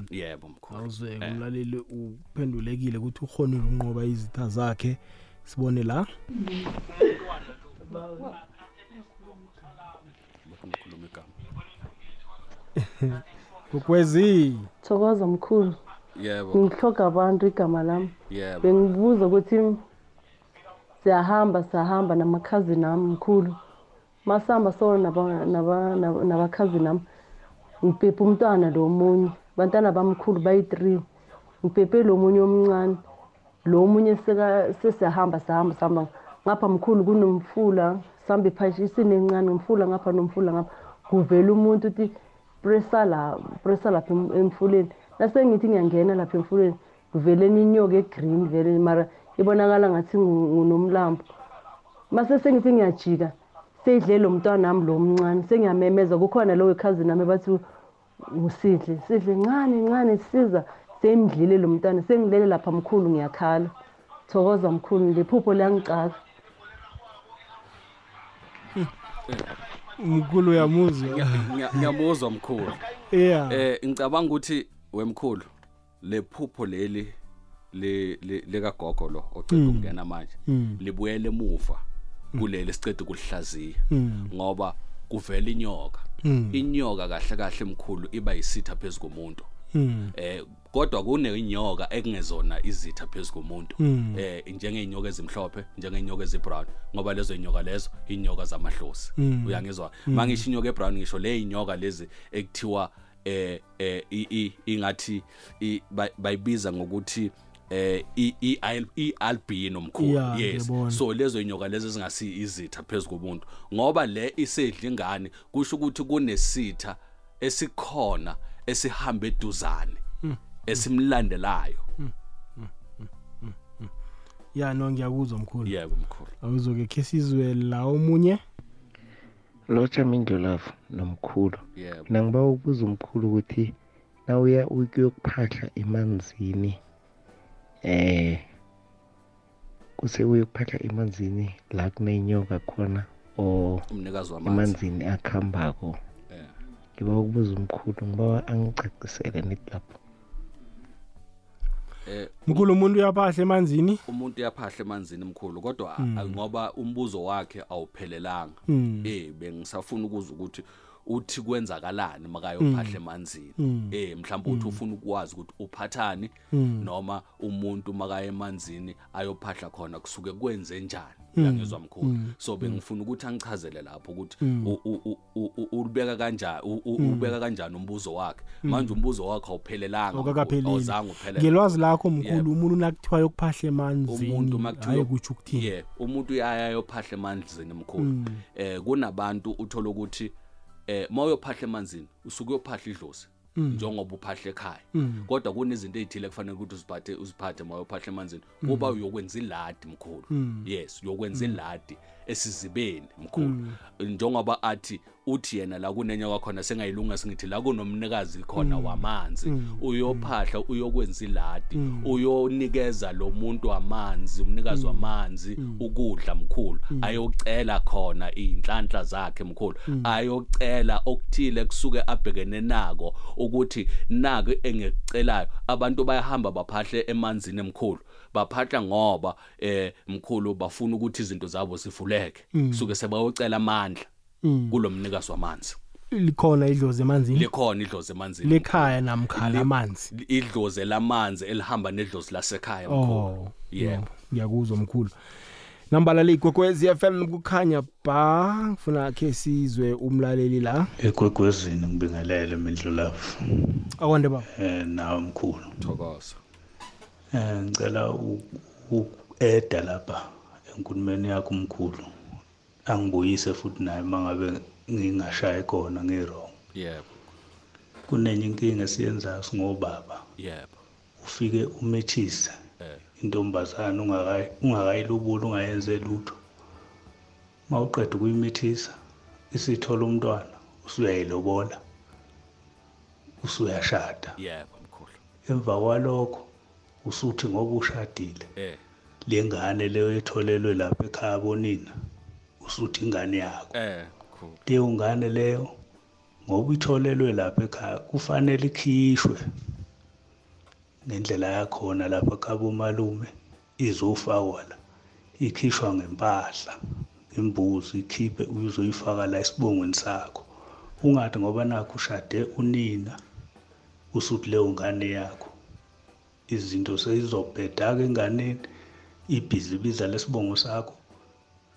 Speaker 2: ngiyabona
Speaker 3: yebo mkhulu Eh.
Speaker 2: awuzeke umlaleli uphendulekile ukuthi ukhonile ukunqoba izitha zakhe sibone la
Speaker 3: lokhu ngikhuluma igama
Speaker 2: kokwezi
Speaker 12: thokoza mkhulu
Speaker 3: Mm. yebo
Speaker 12: ngihloga abantu igama lami
Speaker 3: yebo
Speaker 12: bengibuza ukuthi siyahamba siyahamba namakhazini ami mkhulu masihamba solo naba- naba- naba- nabakhazini ami ngibhebhe umntwana lo munye bantwana bamkhulu bayi-three ngibhebhe lo munye omncane lo munye seka- sesiyahamba sihamba sihamba ngapha mkhulu kunomfula sihambe phashi isini encane ngimfula ngapha nomfula ngapha kuvela umuntu uthi presa la presa lapha em- emfuleni nasengithi ngiyangena lapha emfuleni kuveleni inyoka egreen vele mara ibonakala ngathi ngu- ngunomlambo mase sengithi ngiyajika seyidle lo mntwana wami lo mncane sengiyamemeza kukhona lowo ikhazini nami bathi ngusidle sidle ncane ncane siza sengidlile lo mntwana sengilele lapha mkhulu ngiyakhala thokoza mkhulu liphupho liyangicaka
Speaker 2: mkhulu uyamuzwa
Speaker 3: Ngiya-
Speaker 2: (laughs)
Speaker 3: ngiyamuzwa mkhulu
Speaker 2: ya
Speaker 3: eh ngicabanga ukuthi wemkhulu lephupho leli le le- likagogo lo ocela ukungena manje libuyele emuva kuleli sicede kulihlaziya
Speaker 4: Mm. 음,
Speaker 3: ngoba kuvela inyoka inyoka kahle kahle mkhulu iba yisitha phezulu komuntu eh kodwa kunenyoka ekungezona izitha phezulu komuntu eh njengeenyoka ezimhlophe njengeenyoka ezibrown ngoba lezo inyoka lezo inyoka zamahlosi uyangizwa mangisho inyoka ebrown ngisho le inyoka lezi ekuthiwa eh eh i- i- ingathi i- bay- bayibiza ngokuthi eh i- i- al- i-albino
Speaker 2: Ya,
Speaker 3: mkhulu yes
Speaker 2: ngiyabona.
Speaker 3: so lezo inyoka lezo ezingasi izitha phezulu komuntu ngoba le isedla ingane kusho ukuthi kunesitha esikhona esihamba eduzane
Speaker 4: 음,
Speaker 3: esimlandelayo
Speaker 2: ya no ngiyakuzwa mkhulu
Speaker 3: yebo mkhulu
Speaker 2: awuzoke khe sizwe la omunye
Speaker 6: lotsha mindlulavu nomkhulu
Speaker 3: yebo
Speaker 6: mina ngiba ukubuza umkhulu ukuthi nawuya ukuyokuphahla emanzini eh kuse uyokuphahla emanzini la kunenyoka khona or
Speaker 3: umnikazi wamanzi
Speaker 6: emanzini akuhambako
Speaker 3: Eh.
Speaker 6: ngiba ukubuza umkhulu ngiba angicacisele nithi lapho
Speaker 3: eh
Speaker 2: mkhulu umuntu uyaphahla emanzini
Speaker 3: umuntu uyaphahla emanzini mkhulu kodwa
Speaker 2: Hmm.
Speaker 3: a- ngoba umbuzo wakhe awuphelelanga eh bengisafuna ukuza ukuthi uthi kwenzakalani
Speaker 2: Hmm.
Speaker 3: makayophahla emanzini eh mhlawumbe uthi ufuna ukwazi ukuthi uphathani
Speaker 2: Hmm.
Speaker 3: noma umuntu makaye emanzini ayophahla khona kusuke kwenze njani
Speaker 2: Hmm.
Speaker 3: uyangizwa mkhulu so bengifuna ukuthi angichazele lapho ukuthi
Speaker 2: Hmm.
Speaker 3: u- u- u- u- u- ulibeka kanjani u- u- ubeka kanjani umbuzo wakhe
Speaker 2: Hmm.
Speaker 3: manje umbuzo wakhe awuphelelanga mkhulu,
Speaker 2: okakaphelile
Speaker 3: awuzange uphelele
Speaker 2: ngelwazi lakho mkhulu
Speaker 3: Yebo.
Speaker 2: umuntu nakuthiwa yokuphahla emanzini
Speaker 3: umuntu makuthiwa-
Speaker 2: hayi kutsho ukuthini
Speaker 3: yeah umuntu uyaya yophahla emanzini mkhulu eh kunabantu uthola ukuthi eh mawuyophahla emanzini usuke uyophahla idlozi njengoba uphahla ekhaya kodwa kunezinto ezithile ekufanele ukuthi uziphathe uziphathe mawuyophahla emanzini kuba uyokwenza iladi mkhulu yes uyokwenza iladi esizibeni mkhulu njengoba athi uthi yena la kunenyoka khona sengayilunga singithi la kunomnikazi khona wamanzi uyophahla uyokwenza iladi uyonikeza lo muntu amanzi
Speaker 2: Mm.
Speaker 3: umnikazi wamanzi ukudla mkhulu ayocela khona izinhlanhla zakhe mkhulu
Speaker 2: Mm.
Speaker 3: ayocela okuthile kusuke abhekene nako ukuthi naku engekucelayo abantu bayahamba baphahle emanzini mkhulu baphatha ngoba eh mkhulu bafuna ukuthi izinto zabo sifuleke
Speaker 2: Mm.
Speaker 3: kusuke sebayocela amandla Mm. kulomnikazi wamanzi
Speaker 2: likhona idlozi emanzini
Speaker 3: likhona idlozi emanzini
Speaker 2: lekhaya namkhala amanzi
Speaker 3: idlozi lamanzi elihamba nedlozi lasekhaya mkhulu
Speaker 2: oh
Speaker 3: yebo
Speaker 2: ngiyakuzwa mkhulu nambalala igwekwezi FM kukhanya ba ngifuna khe sizwe umlaleli la
Speaker 15: egwegwezini ngibingelele mindlulafu
Speaker 2: akwande baba
Speaker 15: um nawe mkhulu
Speaker 3: thokoza
Speaker 15: um ngicela uku-eda lapha enkulumeni yakho mkhulu angibuyise futhi naye uma ngabe ngingashaye khona ngirong
Speaker 3: yebo
Speaker 15: kunenye inkinga esiyenzayo singobaba
Speaker 3: yebo
Speaker 15: ufike umethise
Speaker 3: Eh.
Speaker 15: intombazane ungakayi- ungakayilubuli ungayenze lutho uma uqeda ukuyimithisa isithola umntwana usuyayilobola usuyashada
Speaker 3: yebo mkhulu
Speaker 15: emva kwalokho usuthi ngoba ushadile
Speaker 3: eh
Speaker 15: le ngane leyo etholelwe lapha ekhaya bonina usuthi ingane yakho
Speaker 3: eh mkhulu
Speaker 15: leyo ngane leyo ngoba itholelwe lapha ekhaya kufanele ikhishwe ngendlela yakhona lapha kabomalume izofakwa la ikhishwa ngempahla imbuzi ikhiphe uzoyifaka la esibongweni sakho ungathi ngoba nakho ushade unina usuthi leyo ngane yakho izinto seyizobheda-ke enganeni ibhizibiza lesibongo sakho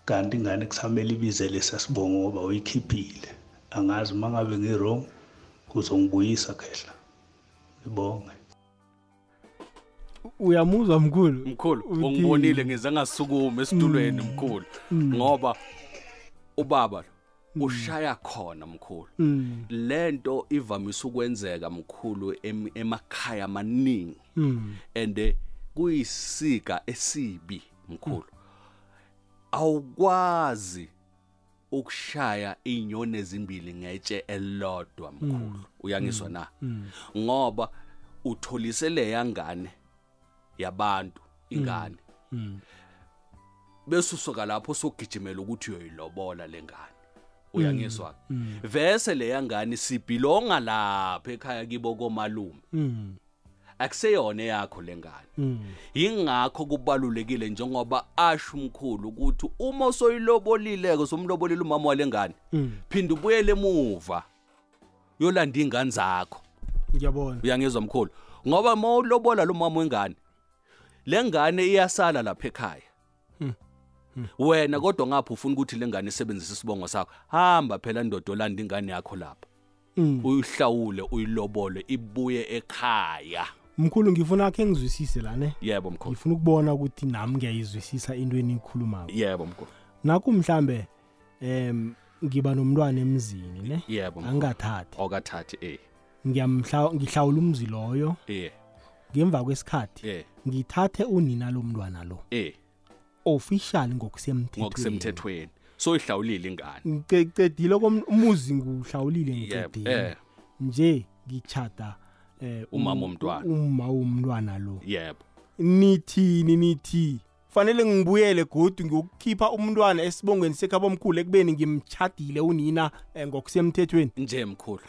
Speaker 15: kanti ingane kusamele ibize lesasibongo ngoba uyikhiphile angazi uma ngabe ngirong kuzongibuyisa khehla ngibonge
Speaker 2: uyamuzwa mkhulu
Speaker 3: mkhulu
Speaker 2: Uthini?
Speaker 3: ungibonile ngize ngasukuma esitulweni mkhulu
Speaker 2: Mm.
Speaker 3: ngoba ubaba lo ushaya khona mkhulu
Speaker 2: Mm.
Speaker 3: lento ivamise ukwenzeka mkhulu em- emakhaya amaningi
Speaker 2: Mm.
Speaker 3: ande kuyisika esibi mkhulu awukwazi ukushaya inyoni ezimbili ngetshe elodwa mkhulu uyangizwa na
Speaker 5: Mm.
Speaker 3: ngoba utholise le yangane yabantu ingane
Speaker 5: Mm.
Speaker 3: bese usuka lapho sogijimela ukuthi uyoyilobola lengane uyangizwa
Speaker 5: Mm.
Speaker 3: vese le yangane sibhilonga lapha ekhaya kibo komalume
Speaker 2: Mm.
Speaker 3: akuseyona yakho lengane
Speaker 4: 음,
Speaker 2: Mm.
Speaker 3: yingakho kubalulekile njengoba asho umkhulu ukuthi uma usoyilobolileke somlobolile umama walengane
Speaker 2: Mm.
Speaker 4: 음,
Speaker 3: phinda ubuyele emuva yolanda ingane zakho
Speaker 2: ngiyabona
Speaker 3: uyangizwa mkhulu ngoba uma ulobola lo mama wengane le ngane iyasala lapha ekhaya
Speaker 2: Hmm.
Speaker 3: wena kodwa ngapha ufuna ukuthi le ngane isebenzise isibongo sakho hamba phela ndoda olanda ingane yakho lapha
Speaker 2: Mm.
Speaker 3: uyihlawule uyilobole ibuye ekhaya
Speaker 2: mkhulu ngifuna khe ngizwisise lane
Speaker 3: yebo mkhulu
Speaker 2: ngifuna ukubona ukuthi nami ngiyayizwisisa into eniyikhulumako
Speaker 3: yebo mkhulu
Speaker 2: naku mhlambe em ngiba nomntwana emzini ne
Speaker 3: yebo mkhulu.
Speaker 2: angathathi
Speaker 3: okathathi eh
Speaker 2: ngiyamhla ngihlawula umzi loyo
Speaker 3: eh
Speaker 2: ngemva kwesikhathi
Speaker 3: eh
Speaker 2: ngithathe unina lomntwana lo
Speaker 3: eh
Speaker 2: official ngokusemthethweni
Speaker 3: ngokusemthethweni soyihlawulile ingane
Speaker 2: ngicedile umuzi nguhlawulile
Speaker 3: yebo
Speaker 2: ngicedile
Speaker 3: eh
Speaker 2: nje ngichata eh
Speaker 3: Umama
Speaker 2: um-
Speaker 3: womntwana.
Speaker 2: umama womntwana lo
Speaker 3: yebo (laughs)
Speaker 2: nithini nithi fanele ngibuyele godu ngiyokukhipha umntwana esibongweni sekhaba omkhulu ekubeni ngimchadile unina eh, ngokusemthethweni
Speaker 3: nje mkhulu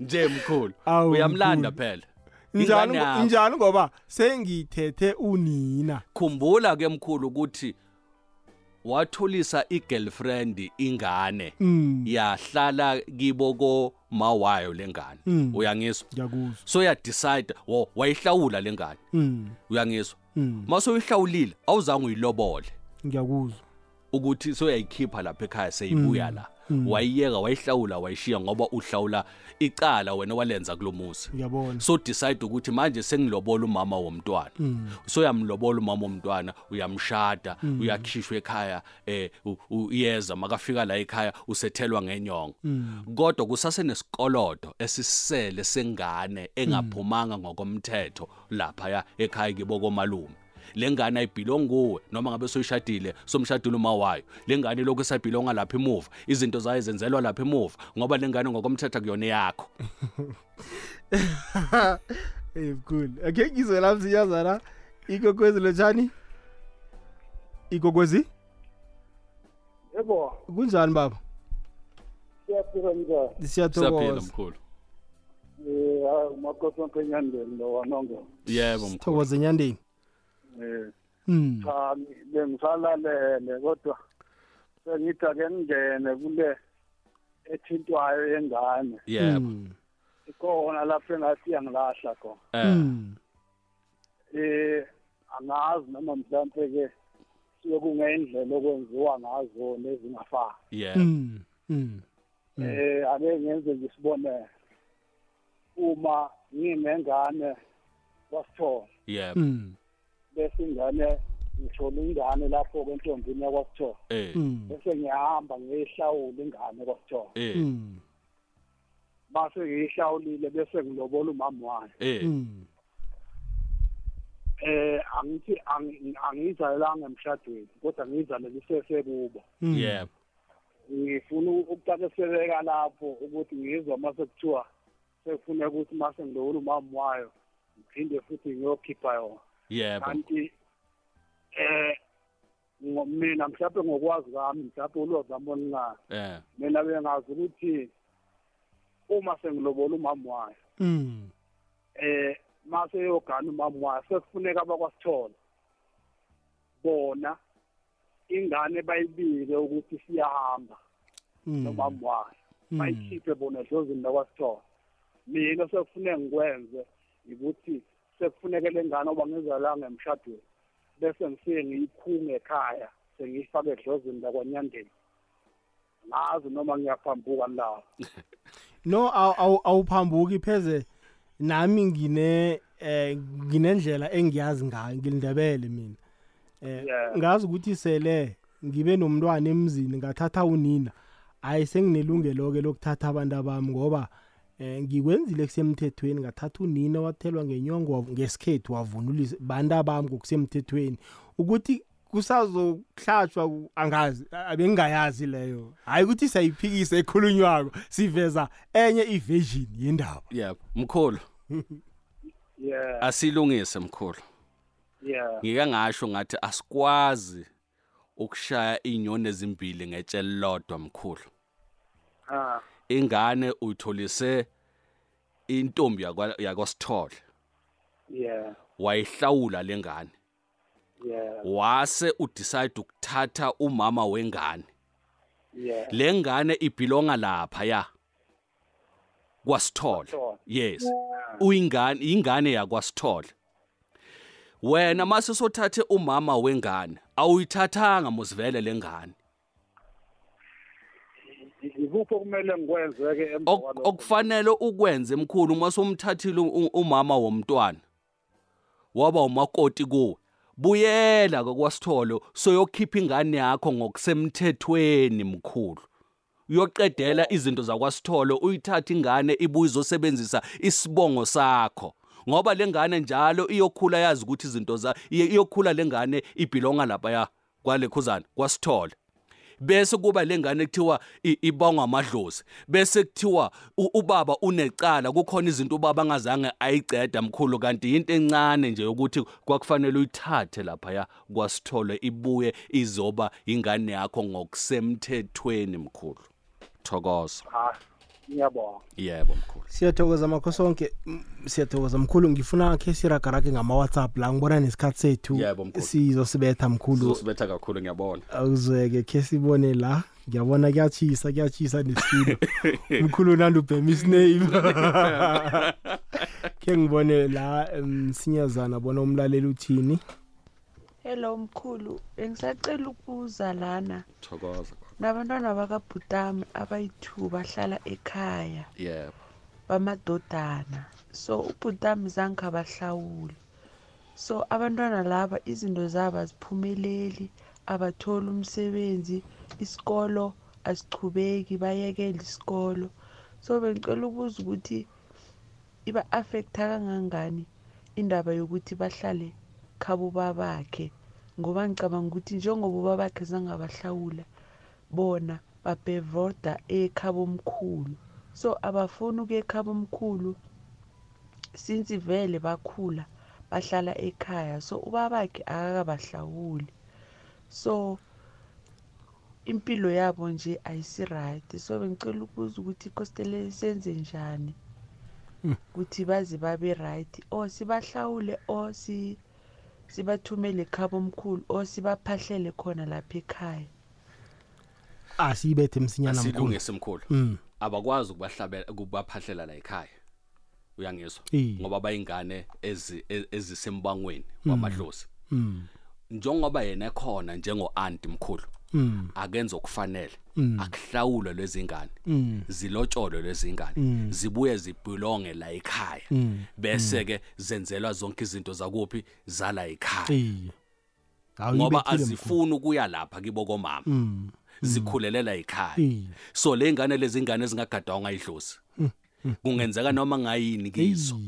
Speaker 3: nje mkhulu
Speaker 2: Awu,
Speaker 3: uyamlanda
Speaker 2: mkhulu.
Speaker 3: phela
Speaker 2: (laughs) njalo
Speaker 3: Ingane yakho.
Speaker 2: njalo ngoba sengithethe unina
Speaker 3: khumbula ke mkhulu ukuthi wathulisa igirlfriend ingane
Speaker 2: Mm.
Speaker 3: yahlala kibo ko mawayo lengane
Speaker 2: Mm.
Speaker 3: uyangizwa
Speaker 2: ngiyakuzwa
Speaker 3: so ya decide wo wayihlawula lengane
Speaker 2: Mm,
Speaker 3: uyangizwa
Speaker 2: mm,
Speaker 3: mase uyihlawulile awuzange uyilobole
Speaker 2: ngiyakuzwa
Speaker 3: ukuthi soyayikhipha lapha ekhaya seyibuya
Speaker 2: Mm.
Speaker 3: la
Speaker 2: Mm.
Speaker 3: wayiyeka wayihlawula wayishiya ngoba uhlawula icala wena walenza kulomuzi
Speaker 2: ngiyabona
Speaker 3: so decide ukuthi manje sengilobola umama womntwana
Speaker 2: Mm. (laughs)
Speaker 3: soyamlobola umama womntwana uyamshada
Speaker 2: Mm.
Speaker 3: uyakhishwa ekhaya eh u- u- iyeza makafika la ekhaya usethelwa ngenyongo
Speaker 5: Mm.
Speaker 3: kodwa kusase nesikolodo esisele sengane engaphumanga ngokomthetho lapha ekhaya kibo komalume lengane ayibhilonguwe noma ngabe soyishadile somshadile uma wayo lengane lokhu isabhilonga lapha emuva izinto zayo zenzelwa lapha emuva ngoba lengane ngokomthetho kuyona yakho
Speaker 2: hey cool okay ngizwe la msinyazana ikokwezi lotshani ikokwezi
Speaker 11: yebo
Speaker 2: kunjani baba
Speaker 11: siyaphila njani
Speaker 3: siyaphila
Speaker 2: siyathokoza
Speaker 3: mkhulu
Speaker 11: um hayi umakhosi wampenyandeni lo wanongo
Speaker 3: yebo mkhulu
Speaker 2: thokoza enyandeni
Speaker 11: um
Speaker 2: Mm.
Speaker 11: cha bengisalalele kodwa sengithi ake ngingene kule ethintwayo yengane
Speaker 3: yebo
Speaker 2: Mm.
Speaker 11: ikhona lapho engathi
Speaker 2: Mm.
Speaker 11: iyangilahla khona
Speaker 3: eh
Speaker 11: um angazi noma mhlampe-ke
Speaker 5: kusuke kungendlela okwenziwa ngazo nezingafani
Speaker 3: yeah
Speaker 2: Mm. Mm.
Speaker 5: eh ake ngenze nje isibonelo uma nginengane wasithola
Speaker 3: yeah
Speaker 2: Mm.
Speaker 5: bese ingane ngithola ingane lapho kwentombini yakwasithola
Speaker 3: eh
Speaker 2: Mm.
Speaker 5: bese ngiyahamba ngiyihlawula ingane kwasithola
Speaker 3: eh
Speaker 2: Mm.
Speaker 5: base ngiyihlawulile bese ngilobola umama wayo
Speaker 3: eh
Speaker 4: 음,
Speaker 2: Mm.
Speaker 5: eh angithi angi- angiyizalelanga emshadweni kodwa ngiyizalele isesekubo
Speaker 2: Mm.
Speaker 3: yeah
Speaker 5: ngifuna ukucaciseleka lapho ukuthi ngizwa mase kuthiwa sekufuneka ukuthi mase ngilowula umama wayo ngiphinde futhi ngiyokhipha yona 예,
Speaker 3: yeah
Speaker 5: kanti eh ngo- mina mhlawumbe ngokwazi kwami mhlawumbe ulwazi lwami oluncane
Speaker 3: eh
Speaker 5: mina bengazi ukuthi uma sengilobola umama wayo
Speaker 2: Mm.
Speaker 5: eh mase yogana umama wayo sekufuneka abakwasithola bona ingane bayibike ukuthi siyahamba nomama wayo
Speaker 2: Mm.
Speaker 5: bayikhiphe bona edlozini lakwasithola mina sekufuneka ngikwenze ukuthi sekufuneka le ngane oba ngizalanga emshadweni bese ngifike ngiyikhunge ekhaya sengiyifake edlozini lakwanyandeni ngazi noma ngiyaphambuka lawo
Speaker 2: no aw- aw- awuphambuki pheze nami ngine eh nginendlela engiyazi ngayo ngilindebele mina eh
Speaker 5: Yeah.
Speaker 2: ngazi ukuthi sele ngibe nomntwana emzini ngathatha unina hayi senginelungelo-ke lokuthatha abantu abami ngoba eh ngikwenzile kusemthethweni ngathatha unina wathelwa ngenyongo wav- ngesikhethu wavunulisa bantu abami ngokusemthethweni ukuthi kusazokuhlatshwa ku- angazi a- bengingayazi leyo hayi ukuthi siyayiphikisa ekhulunywako siveza enye iversion yendaba
Speaker 3: yeah mkhulu
Speaker 5: yeah
Speaker 3: asilungise mkhulu
Speaker 5: yeah
Speaker 3: ngike ngasho ngathi asikwazi ukushaya inyoni ezimbili ngetshe lodwa mkhulu
Speaker 5: ah
Speaker 3: ingane uyitholise intombi yakwa- yakwasithole
Speaker 5: yeah
Speaker 3: wayihlawula lengane
Speaker 5: yeah
Speaker 3: wase udecide ukuthatha umama wengane
Speaker 5: yeah
Speaker 3: lengane ibhilonga lapha ya kwasithole
Speaker 5: Kwasithole.
Speaker 3: yes uyingane ingane yakwasithole wena mase sothathe umama wengane awuyithathanga mosivele lengane
Speaker 5: ikuphi okumele ngikwenzeke emva
Speaker 3: Ok- okufanele ukwenze mkhulu uma somthathile u- umama womntwana waba umakoti kuwe buyela kwakwasitholo soyokhipha ingane yakho ngokusemthethweni mkhulu uyoqedela izinto zakwasitholo uyithathe ingane ibuye izosebenzisa isibongo sakho ngoba le ngane njalo iyokhula yazi ukuthi izinto za iye- iyokhula le ngane ibhilonga lapha kwalekhuzana kwasithole bese kuba lengane kuthiwa i- ibongwa amadlozi bese kuthiwa u- ubaba unecala kukhona izinto ubaba angazange ayiceda mkhulu kanti into encane nje ukuthi kwakufanele uyithathe laphaya kwasithole ibuye izoba ingane yakho ngokusemthethweni mkhulu thokoza
Speaker 5: ah ngiyabonga
Speaker 3: yebo mkhulu
Speaker 2: (laughs) siyathokoza makho sonke Mm, siyathokoza mkhulu ngifuna khe siragarage ngama-whatsapp la ngibona nesikhathi sethu
Speaker 3: Yebo, mkhulu.
Speaker 2: sizosibetha mkhulu
Speaker 3: uzosibetha kakhulu ngiyabona
Speaker 2: awuzweke khe sibone la ngiyabona kuyatshisa kuyatshisa
Speaker 3: (laughs)
Speaker 2: nesilo mkhulu nandi ubhema isiname (laughs) khe ngibone la msinyazana bona umlaleli uthini
Speaker 16: hello mkhulu bengisacela ukubuza lana
Speaker 3: thokoza
Speaker 16: nabantwana bakabhutami abayi-two bahlala ekhaya
Speaker 3: yebo
Speaker 16: bamadodana so ubhutami zange abahlawule so abantwana laba izinto zabo aziphumeleli abatholi umsebenzi isikolo asichubeki bayekele isikolo so bengicela ukubuza ukuthi iba-affectha kangangani indaba yokuthi bahlale khabo babakhe ngoba ngicabanga ukuthi njengoba ubabakhe zangabahlawula bona babhevoda ekhabomkhulu so abafuni ukuya ekhabomkhulu since vele bakhula bahlala ekhaya so ubabakhe akakabahlawuli so impilo yabo nje ayisiright so bengicela ukubuza ukuthi kostele senze njani ukuthi baze babe right or sibahlawule or si sibathumele ekhaba omkhulu or sibaphahlele khona lapha ekhaya
Speaker 2: asiyibethe Ah, msinyana mkhulu
Speaker 3: asilungise mkhulu
Speaker 2: Mm.
Speaker 3: abakwazi ukubahlabela ukubaphahlela la ekhaya uyangizwa
Speaker 2: Iye.
Speaker 4: 음,
Speaker 3: ngoba bayingane ezi- e- ezisembangweni wamadlozi
Speaker 2: Mm.
Speaker 3: njengoba yena ekhona njengo-anti mkhulu
Speaker 2: Mm.
Speaker 3: akenze okufanele
Speaker 2: Mm.
Speaker 3: akuhlawulwe lwezingane
Speaker 2: Mm.
Speaker 3: zilotsholwe lwezingane
Speaker 2: Mm.
Speaker 3: zibuye zibhulonge la ekhaya
Speaker 2: Mm.
Speaker 3: bese ke zenzelwa zonke izinto zakuphi zala ekhaya
Speaker 2: Iye. Hawu,
Speaker 3: ngoba
Speaker 2: ibethile mkhulu.
Speaker 3: azifuni ukuya lapha kibo komama
Speaker 2: Mm.
Speaker 3: zikhulelela ekhaya
Speaker 2: Iye.
Speaker 3: so le ngane lezi ngane ezingagadwanga ayidlozi
Speaker 2: Mm,
Speaker 3: kungenzeka noma ngayini kizo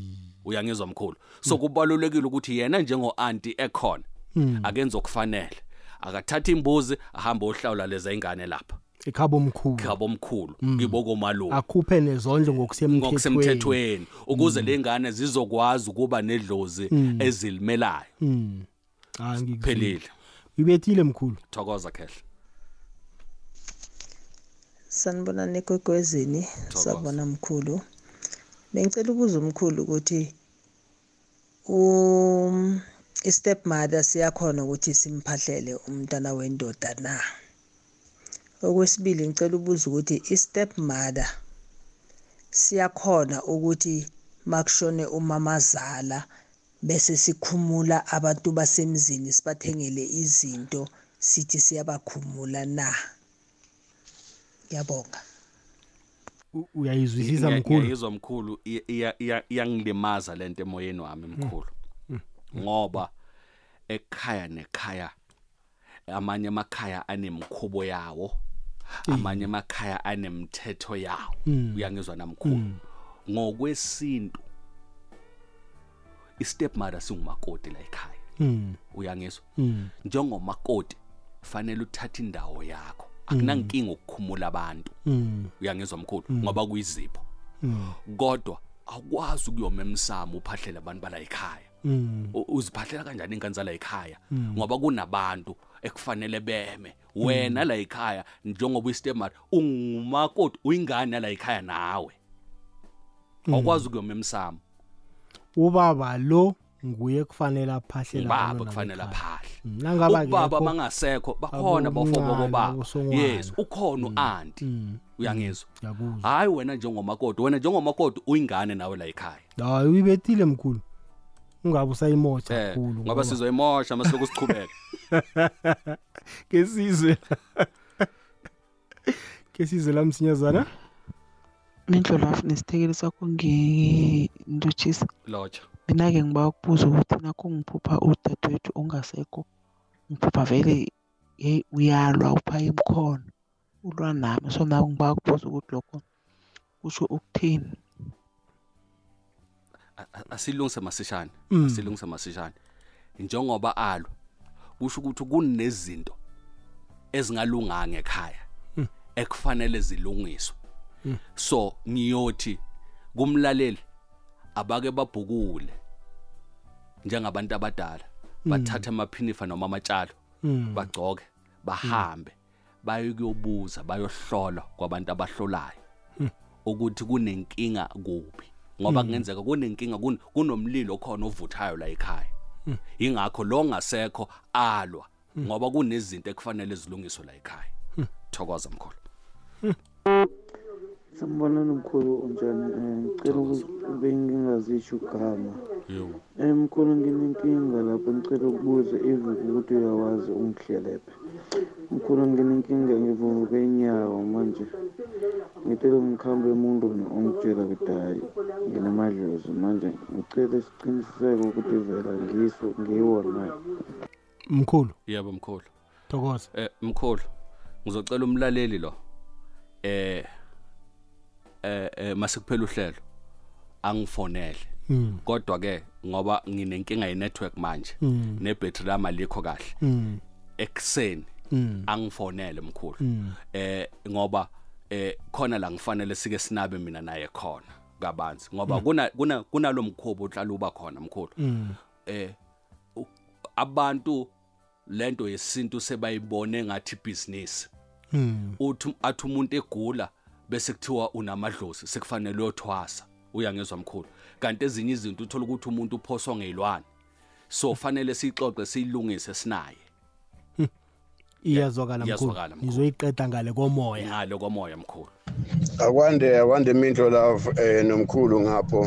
Speaker 3: uyangizwa mkhulu so kubalulekile ukuthi yena njengo-anti ekhona
Speaker 4: 음,
Speaker 2: Mm.
Speaker 3: akenze okufanele akathatha imbuzi ahambe ohlawula leza ingane lapha
Speaker 2: ekhabo omkhulu
Speaker 3: khabo omkhulu
Speaker 2: Mm.
Speaker 3: kibokomalume
Speaker 2: akhuphe nezondlo ngokusemthethweni
Speaker 3: ngokusemthethweni ukuze le ngane zizokwazi ukuba nedlozi
Speaker 2: Mm.
Speaker 3: ezilimelayo
Speaker 2: Mm. Ah, ngikuzwile.
Speaker 3: phelile
Speaker 2: ibethile mkhulu
Speaker 3: thokoza khehla
Speaker 17: sanibonani ekwekwezini sabona mkhulu bengicela ukuza umkhulu ukuthi um i-step mother siyakhona ukuthi simphahlele umntana wendoda na okwesibili ngicela ubuza ukuthi i-step mother siyakhona ukuthi makushone umamazala bese sikhumula abantu basemzini sibathengele izinto sithi siyabakhumula na ngiyabonga
Speaker 2: U- uyayizwisisa
Speaker 3: Ngiya-
Speaker 2: mkhulu
Speaker 3: ngiyayizwa mkhulu iya- iya- iya- iyangilimaza lento emoyeni wami mkhulu
Speaker 2: Mm.
Speaker 3: ngoba ekhaya nekhaya amanye amakhaya anemkhubo yawo amanye amakhaya anemithetho yawo
Speaker 18: Mm.
Speaker 3: uyangizwa namkhulu ngokwesintu i-stepmother singumakoti la ekhaya
Speaker 2: Mm.
Speaker 3: uyangizwa
Speaker 2: Mm.
Speaker 3: njengomakoti fanele uthathe indawo yakho akunankinga ukukhumula abantu
Speaker 2: Mm.
Speaker 3: uyangizwa mkhulu
Speaker 2: Mm.
Speaker 3: ngoba kuyizipho
Speaker 2: Mm.
Speaker 3: kodwa awukwazi ukuyoma emsamo uphahlele abantu bala ekhaya
Speaker 2: Mm.
Speaker 3: U- uziphahlela kanjani ingane zala ekhaya
Speaker 2: Mm.
Speaker 3: ngoba kunabantu ekufanele beme wena la ekhaya njengoba uyistemari ungumakoti uyingane la ekhaya nawe
Speaker 2: Mm.
Speaker 3: awukwazi ukuyoma emsamo
Speaker 2: ubaba lo nguye kufanele aphahlele
Speaker 3: ubaba
Speaker 2: abantwana
Speaker 3: kufanele
Speaker 2: bekhaya.
Speaker 3: aphahle
Speaker 2: Mm, nangabe
Speaker 3: ubaba
Speaker 2: akekho-
Speaker 3: mangasekho bakhona
Speaker 2: abomncane,
Speaker 3: bafobokobaba
Speaker 2: abosongwana.
Speaker 3: yes ukhona u-anti
Speaker 2: Mm.
Speaker 3: uyangizwa
Speaker 2: Ngiyakuzwa.
Speaker 3: hhayi wena njengomakoti wena njengomakoti uyingane nawe la ekhaya
Speaker 2: hayi uyibethile mkhulu ungabe usayimotsha
Speaker 3: Eh,
Speaker 2: mkhulu
Speaker 3: ngoba sizoyimosha masiloku siqhubeka
Speaker 2: (laughs) kesizwe kesizwe la msinyazana
Speaker 3: Eh,
Speaker 19: nindlolwafu nesithekeli sakho ngilotshisa
Speaker 3: lotsha
Speaker 19: mina-ke ngiba ukubuza ukuthi nakho ngiphupha udadewethu ongasekho ngiphupha vele yeyi uyalwa uphaya imkhono ulwa nami so nako ngiba kubuza ukuthi lokho kusho ukuthini
Speaker 3: A- a- asilungise masishane
Speaker 19: Mm.
Speaker 3: asilungise masishane njengoba alwa kusho ukuthi kunezinto ezingalunganga ekhaya
Speaker 2: Mm.
Speaker 3: ekufanele zilungiswe
Speaker 2: Mm.
Speaker 3: so ngiyothi kumlaleli abake babhukule njengabantu abadala
Speaker 2: Mm.
Speaker 3: bathatha amaphinifa noma amatshalo
Speaker 2: Mm.
Speaker 3: bagcoke bahambe bayokuyobuza bayohlolwa kwabantu abahlolayo
Speaker 2: Mm.
Speaker 3: ukuthi kunenkinga kuphi ngoba
Speaker 2: Mm.
Speaker 3: kungenzeka kunenkinga kun- kunomlilo khona ovuthayo la ekhaya
Speaker 2: Mm.
Speaker 3: ingakho lo ngasekho alwa
Speaker 2: Mm.
Speaker 3: ngoba kunezinto ekufanele zilungiswe la ekhaya
Speaker 2: Mm.
Speaker 3: thokoza mkhulu
Speaker 10: Sanibonani mkhulu unjani? Eh, Ngicela ukuza bengingazisho igama.
Speaker 3: Yebo.
Speaker 10: Eh mkhulu nginenkinga lapho ngicela ukubuza even ukuthi uyawazi ungihlelephe. Mkhulu nginenkinga ngivuvuke inyawo manje. Ngicela ngikhambe umuntu ongitshela ukuthi hayi nginamadlozi manje ngicela isiqiniseko ukuthi vela ngiso ngiwona.
Speaker 2: mkhulu
Speaker 3: yebo mkhulu
Speaker 2: thokoza
Speaker 3: eh mkhulu ngizocela umlaleli lo eh eh eh, masikuphela uhlelo angifonele
Speaker 2: Mm.
Speaker 3: kodwa ke ngoba nginenkinga ye network manje
Speaker 2: Mm.
Speaker 3: nebhetri lami alikho kahle
Speaker 2: Mm.
Speaker 3: ekuseni
Speaker 2: Mm.
Speaker 3: angifonele mkhulu
Speaker 2: Mm.
Speaker 3: eh ngoba eh khona la ngifanele sike sinabe mina naye khona kabanzi ngoba
Speaker 2: Mm.
Speaker 3: kuna kuna kunalo mkhubo ohlala uba khona mkhulu
Speaker 2: Mm.
Speaker 3: eh u- abantu lento yesintu sebayibone ngathi business
Speaker 2: Mm.
Speaker 3: uthi athi umuntu egula bese kuthiwa unamadlozi sekufanele uyothwasa uyangezwa mkhulu kanti ezinye izinto uthola ukuthi umuntu uphoswa ngeyilwane so fanele siyixoxe siyilungise sinaye
Speaker 2: iyazwakala mkhulu
Speaker 3: Iyazwakala mkhulu.
Speaker 2: ngizoyiqeda ngale komoya
Speaker 3: ngalo komoya mkhulu
Speaker 20: akwande akwande imintlo love eh nomkhulu ngapho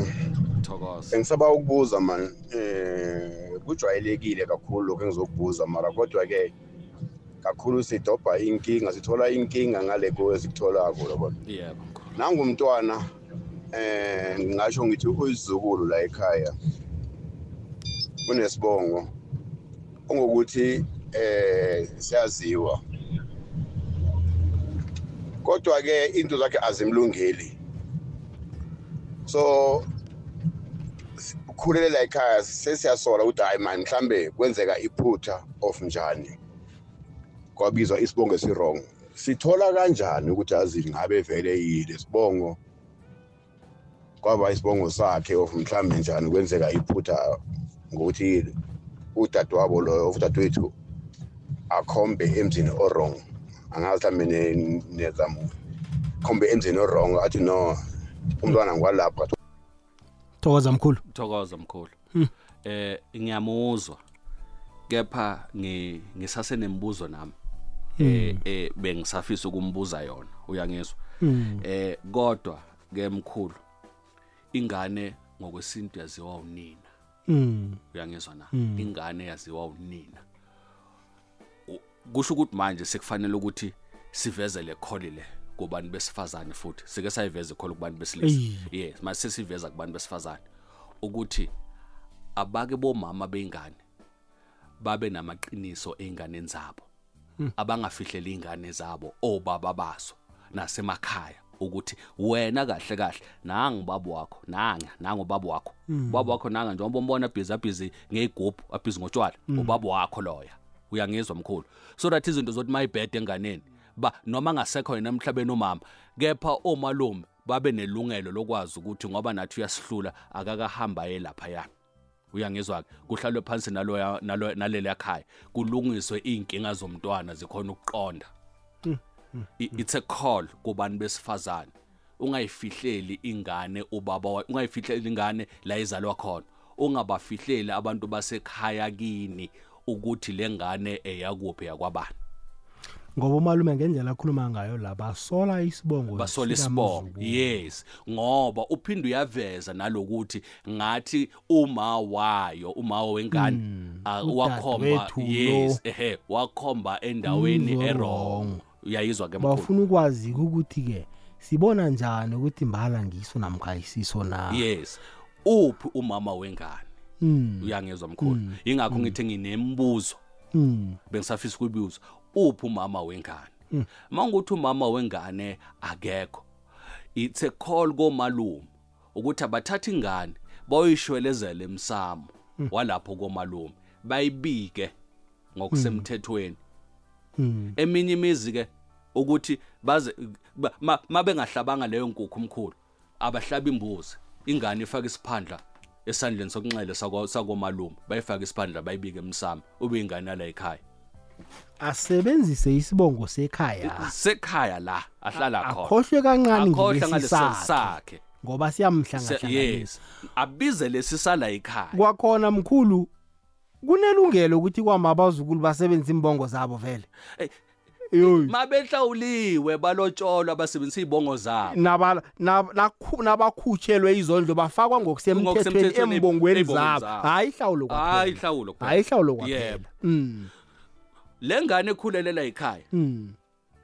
Speaker 3: thokoza
Speaker 20: ngisaba ukubuza man eh kujwayelekile kakhulu lokho engizokubuza mara kodwa-ke kakhulu sidobha inkinga sithola inkinga ngale kwesikutholako lobo
Speaker 3: yebo
Speaker 20: nangumntwana eh ngingasho ngithi uyizukulu la ekhaya unesibongo ongokuthi eh siyaziwa kodwa ke into zakhe azimlungeli so ukhulelela ekhaya sesiyasola ukuthi hayi mani mhlambe kwenzeka iphutha of njani kwabizwa isibongo esirong sithola kanjani ukuthi azini ngabe vele yile sibongo kwaba isibongo sakhe of mhlambe njani kwenzeka iphutha ngokuthi udadewabo loyo udadewethu akhombe emzini orong angazi mhlambe nezamu khombe emzini orong athi no umntwana ngwalapha
Speaker 2: thokoza mkhulu
Speaker 3: thokoza mkhulu
Speaker 2: Hmm.
Speaker 3: eh ngiyamuzwa kepha ngi- ngisasenembuzo nami eh eh, bengisafisa ukumbuza yona uyangizwa
Speaker 2: Hmm.
Speaker 3: eh kodwa ke mkhulu ingane ngokwesintu yaziwa unina
Speaker 2: Mm.
Speaker 3: uyangizwa na
Speaker 2: Mm.
Speaker 3: ingane yaziwa unina U- kusho ukuthi manje sekufanele ukuthi siveze le kholi le kubantu besifazane futhi sike sayiveze ikholi kubantu besilisa yes manje sesiveza kubantu besifazane ukuthi abake bomama bengane babe namaqiniso einganeni zabo
Speaker 2: Mm.
Speaker 3: abangafihleli ingane zabo obaba bazo nasemakhaya ukuthi wena kahle kahle nangu babo wakho nanga nangu babo wakho
Speaker 2: Mm.
Speaker 3: ubaba wakho nanga njengoba umbona abhizi abhizi ngeyigubhu abhizi ngotshwala
Speaker 2: Mm.
Speaker 3: ubaba wakho loya uyangizwa mkhulu so that izinto zokuthi mayibhede enganeni ba noma ngasekho yena emhlabeni umama kepha omalume babe nelungelo lokwazi ukuthi ngoba nathi uyasihlula akakahamba ye laphayana uyangizwa-ke kuhlalwe phansi naloya- nalo- naleliya khaya kulungiswe iy'nkinga zomntwana zikhona ukuqonda
Speaker 2: Mm,
Speaker 3: I- it's a call kubantu besifazane ungayifihleli ingane ubaba wa- ungayifihleli ingane la izalwa khona ungabafihleli abantu basekhaya kini ukuthi le ngane eyakuphi yakwabani
Speaker 2: ngoba umalume ngendlela akhuluma ngayo la basola isibongo
Speaker 3: basola
Speaker 2: sika
Speaker 3: isibongo
Speaker 2: Mzukulu.
Speaker 3: yes ngoba uphinde uyaveza nalokuthi ngathi uma wayo uma wengane
Speaker 2: Mm,
Speaker 3: ah,
Speaker 2: udade
Speaker 3: wakhomba
Speaker 2: wethu
Speaker 3: yes
Speaker 2: lo.
Speaker 3: ehe wakhomba endaweni
Speaker 2: Umzi
Speaker 3: erong uyayizwa ke mkhulu
Speaker 2: bafuna ukwazi-ke ukuthi-ke sibona njani ukuthi mbala ngiso namkhayisiso na
Speaker 3: yes uphi umama wengane
Speaker 2: Mm.
Speaker 3: uyangezwa mkhulu
Speaker 2: Mm.
Speaker 3: ingakho ngithi nginembuzo
Speaker 2: Mm.
Speaker 3: bengisafisa ukuyibuza uphi umama wengane
Speaker 2: Mm.
Speaker 3: mangukuthi umama wengane akekho it's a call komalume ukuthi abathatha ingane bayoyishwelezela emsamo
Speaker 2: Mm.
Speaker 3: walapho komalume bayibike ngokusemthethweni
Speaker 2: Mm.
Speaker 3: eminye imizi ke ukuthi baze ba- ma- mabengahlabanga leyo nkukhu omkhulu abahlaba imbuzi ingane ifake isiphandla esandleni sokunxele sako- sakomalume bayifake isiphandla bayibike emsamo ube ingane yala ekhaya
Speaker 2: asebenzise isibongo sekhaya
Speaker 3: Ah. sekhaya la ahlala khona
Speaker 2: Ah, akhohlwe kancane
Speaker 3: Akhohlwe
Speaker 2: ngelesi
Speaker 3: ngaleso
Speaker 2: sakhe
Speaker 3: sakhe
Speaker 2: ngoba
Speaker 3: Se-
Speaker 2: siyamhlangahlanganisa
Speaker 3: yes abize lesi sala ekhaya
Speaker 2: kwakhona mkhulu kunelungelo ukuthi kwama abazukulu basebenzise imbongo zabo vele
Speaker 3: Eh,
Speaker 2: yoyi
Speaker 3: mabehlawuliwe balotsholwa basebenzisa izibongo zabo
Speaker 2: nabala- nab- nakhu- nabakhutshelwe izondlo bafakwa ngokusemthethweni
Speaker 3: Ngokusemthethweni em-
Speaker 2: embongweni
Speaker 3: embongweni
Speaker 2: zabo
Speaker 3: zabo.
Speaker 2: hayi ihlawulo
Speaker 3: hayi
Speaker 2: kwaphela
Speaker 3: hlawulo kuphela.
Speaker 2: hayi ihlawulo kwaphela
Speaker 3: Yebo.
Speaker 2: Mm,
Speaker 3: le ngane ekhulelela ekhaya
Speaker 2: mm,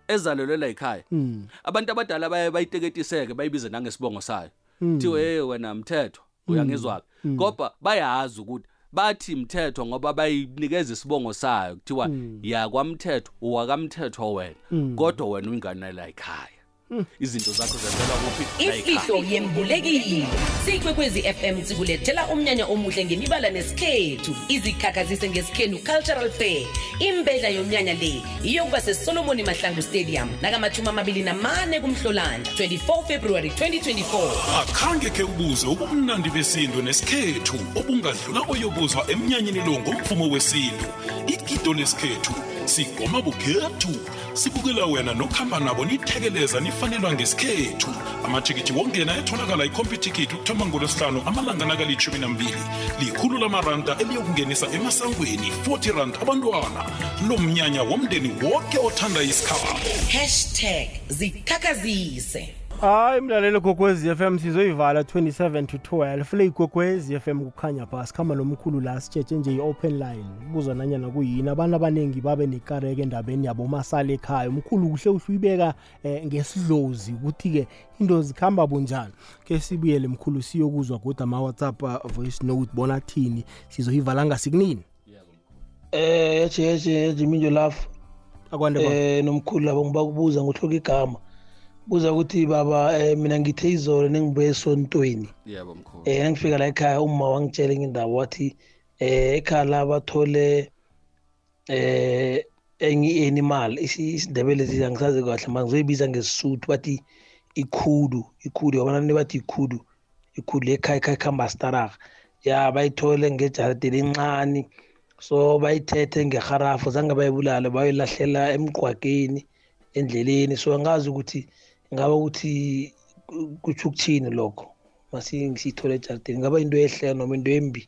Speaker 3: ezalelela ekhaya
Speaker 2: mm,
Speaker 3: abantu abadala baye bayiteketiseke bayibize nangesibongo sayo
Speaker 2: Mm.
Speaker 3: thiwe hey wena mthetho uyangizwa-ke
Speaker 2: Mm.
Speaker 3: kodwa bayazi ukuthi bathi mthetho ngoba bayinikeza isibongo sayo kuthiwa yakwamthetho uwakamthetho wena
Speaker 2: Mm.
Speaker 3: kodwa wena uyingane la ekhaya
Speaker 2: Mm.
Speaker 3: izinto zakho zenzelwa kuphi La ekhaya.
Speaker 18: ifihlo yembulekile sikwekwezi fm sikulethela umnyanya omuhle ngemibala nesikhethu izikhakhazise ngesikhenu cultural fair imbedla yomnyanya le iyokuba sesolomoni mahlangu stadium nakama-24 kumhlolanja 24 february 2024
Speaker 1: akhange khe ubuze ubumnandi besintu nesikhethu obungadlula oyobuzwa emnyanyeni lo ngomvumo wesintu igido lesikhethu sigoma bukhethu sibukela wena nokuhamba nabo nithekeleza nifanelwa ngesikhethu amathikithi wongena etholakala ikhompithikithi ukuthoma ngolwesihlanu amalanga nakalitshumi nambili likhulu lamaranda eliyokungenisa emasangweni 40 rand abantwana lo mnyanya womndeni wonke othanda isikhabo
Speaker 18: hashtag zikhakhazise
Speaker 2: hayi mlalelo gogwezi f m sizoyivala 27 to 12 le igogwezi f m kukhanya phasi khamba nomkhulu la sitshetshe nje i-open line ubuzwa nanyana kuyini abantu abaningi babe nekareko endabeni yabo masala ekhaya umkhulu kuhle uhle uyibeka um ngesidlozi ukuthi-ke into zikhamba bunjani ke sibuyele mkhulu siyokuzwa kodwa ama-whatsapp ah, voice note bona thini sizoyivala ngasikunini
Speaker 7: Eh yeje yeje yeje minjo lafu.
Speaker 2: Akwande
Speaker 7: baba. Eh nomkhulu labo ngiba kubuza ngohloka igama. Buza ukuthi baba eh mina ngithe izolo nengibuye esontweni.
Speaker 3: yebo mkhulu
Speaker 7: Eh ngifika la ekhaya uma wangitshela ngendaba wathi eh ekhaya la bathole eh enyi animal isi- isindebele sithi angisazi kahle manje ngizoyibiza ngesisuthu bathi ikhudu ikhudu yabona bathi ikhudu ikhudu lekhaya ekhaya khamba staraga ya bayithole ngejaradeni encane so bayithethe ngeharafu zange bayibulale bayoyilahlela emgqwakeni endleleni so angazi ukuthi ngaba ukuthi ku- kutsho ukuthini lokho masiyithole ejarideni ngaba into ehle noma into embi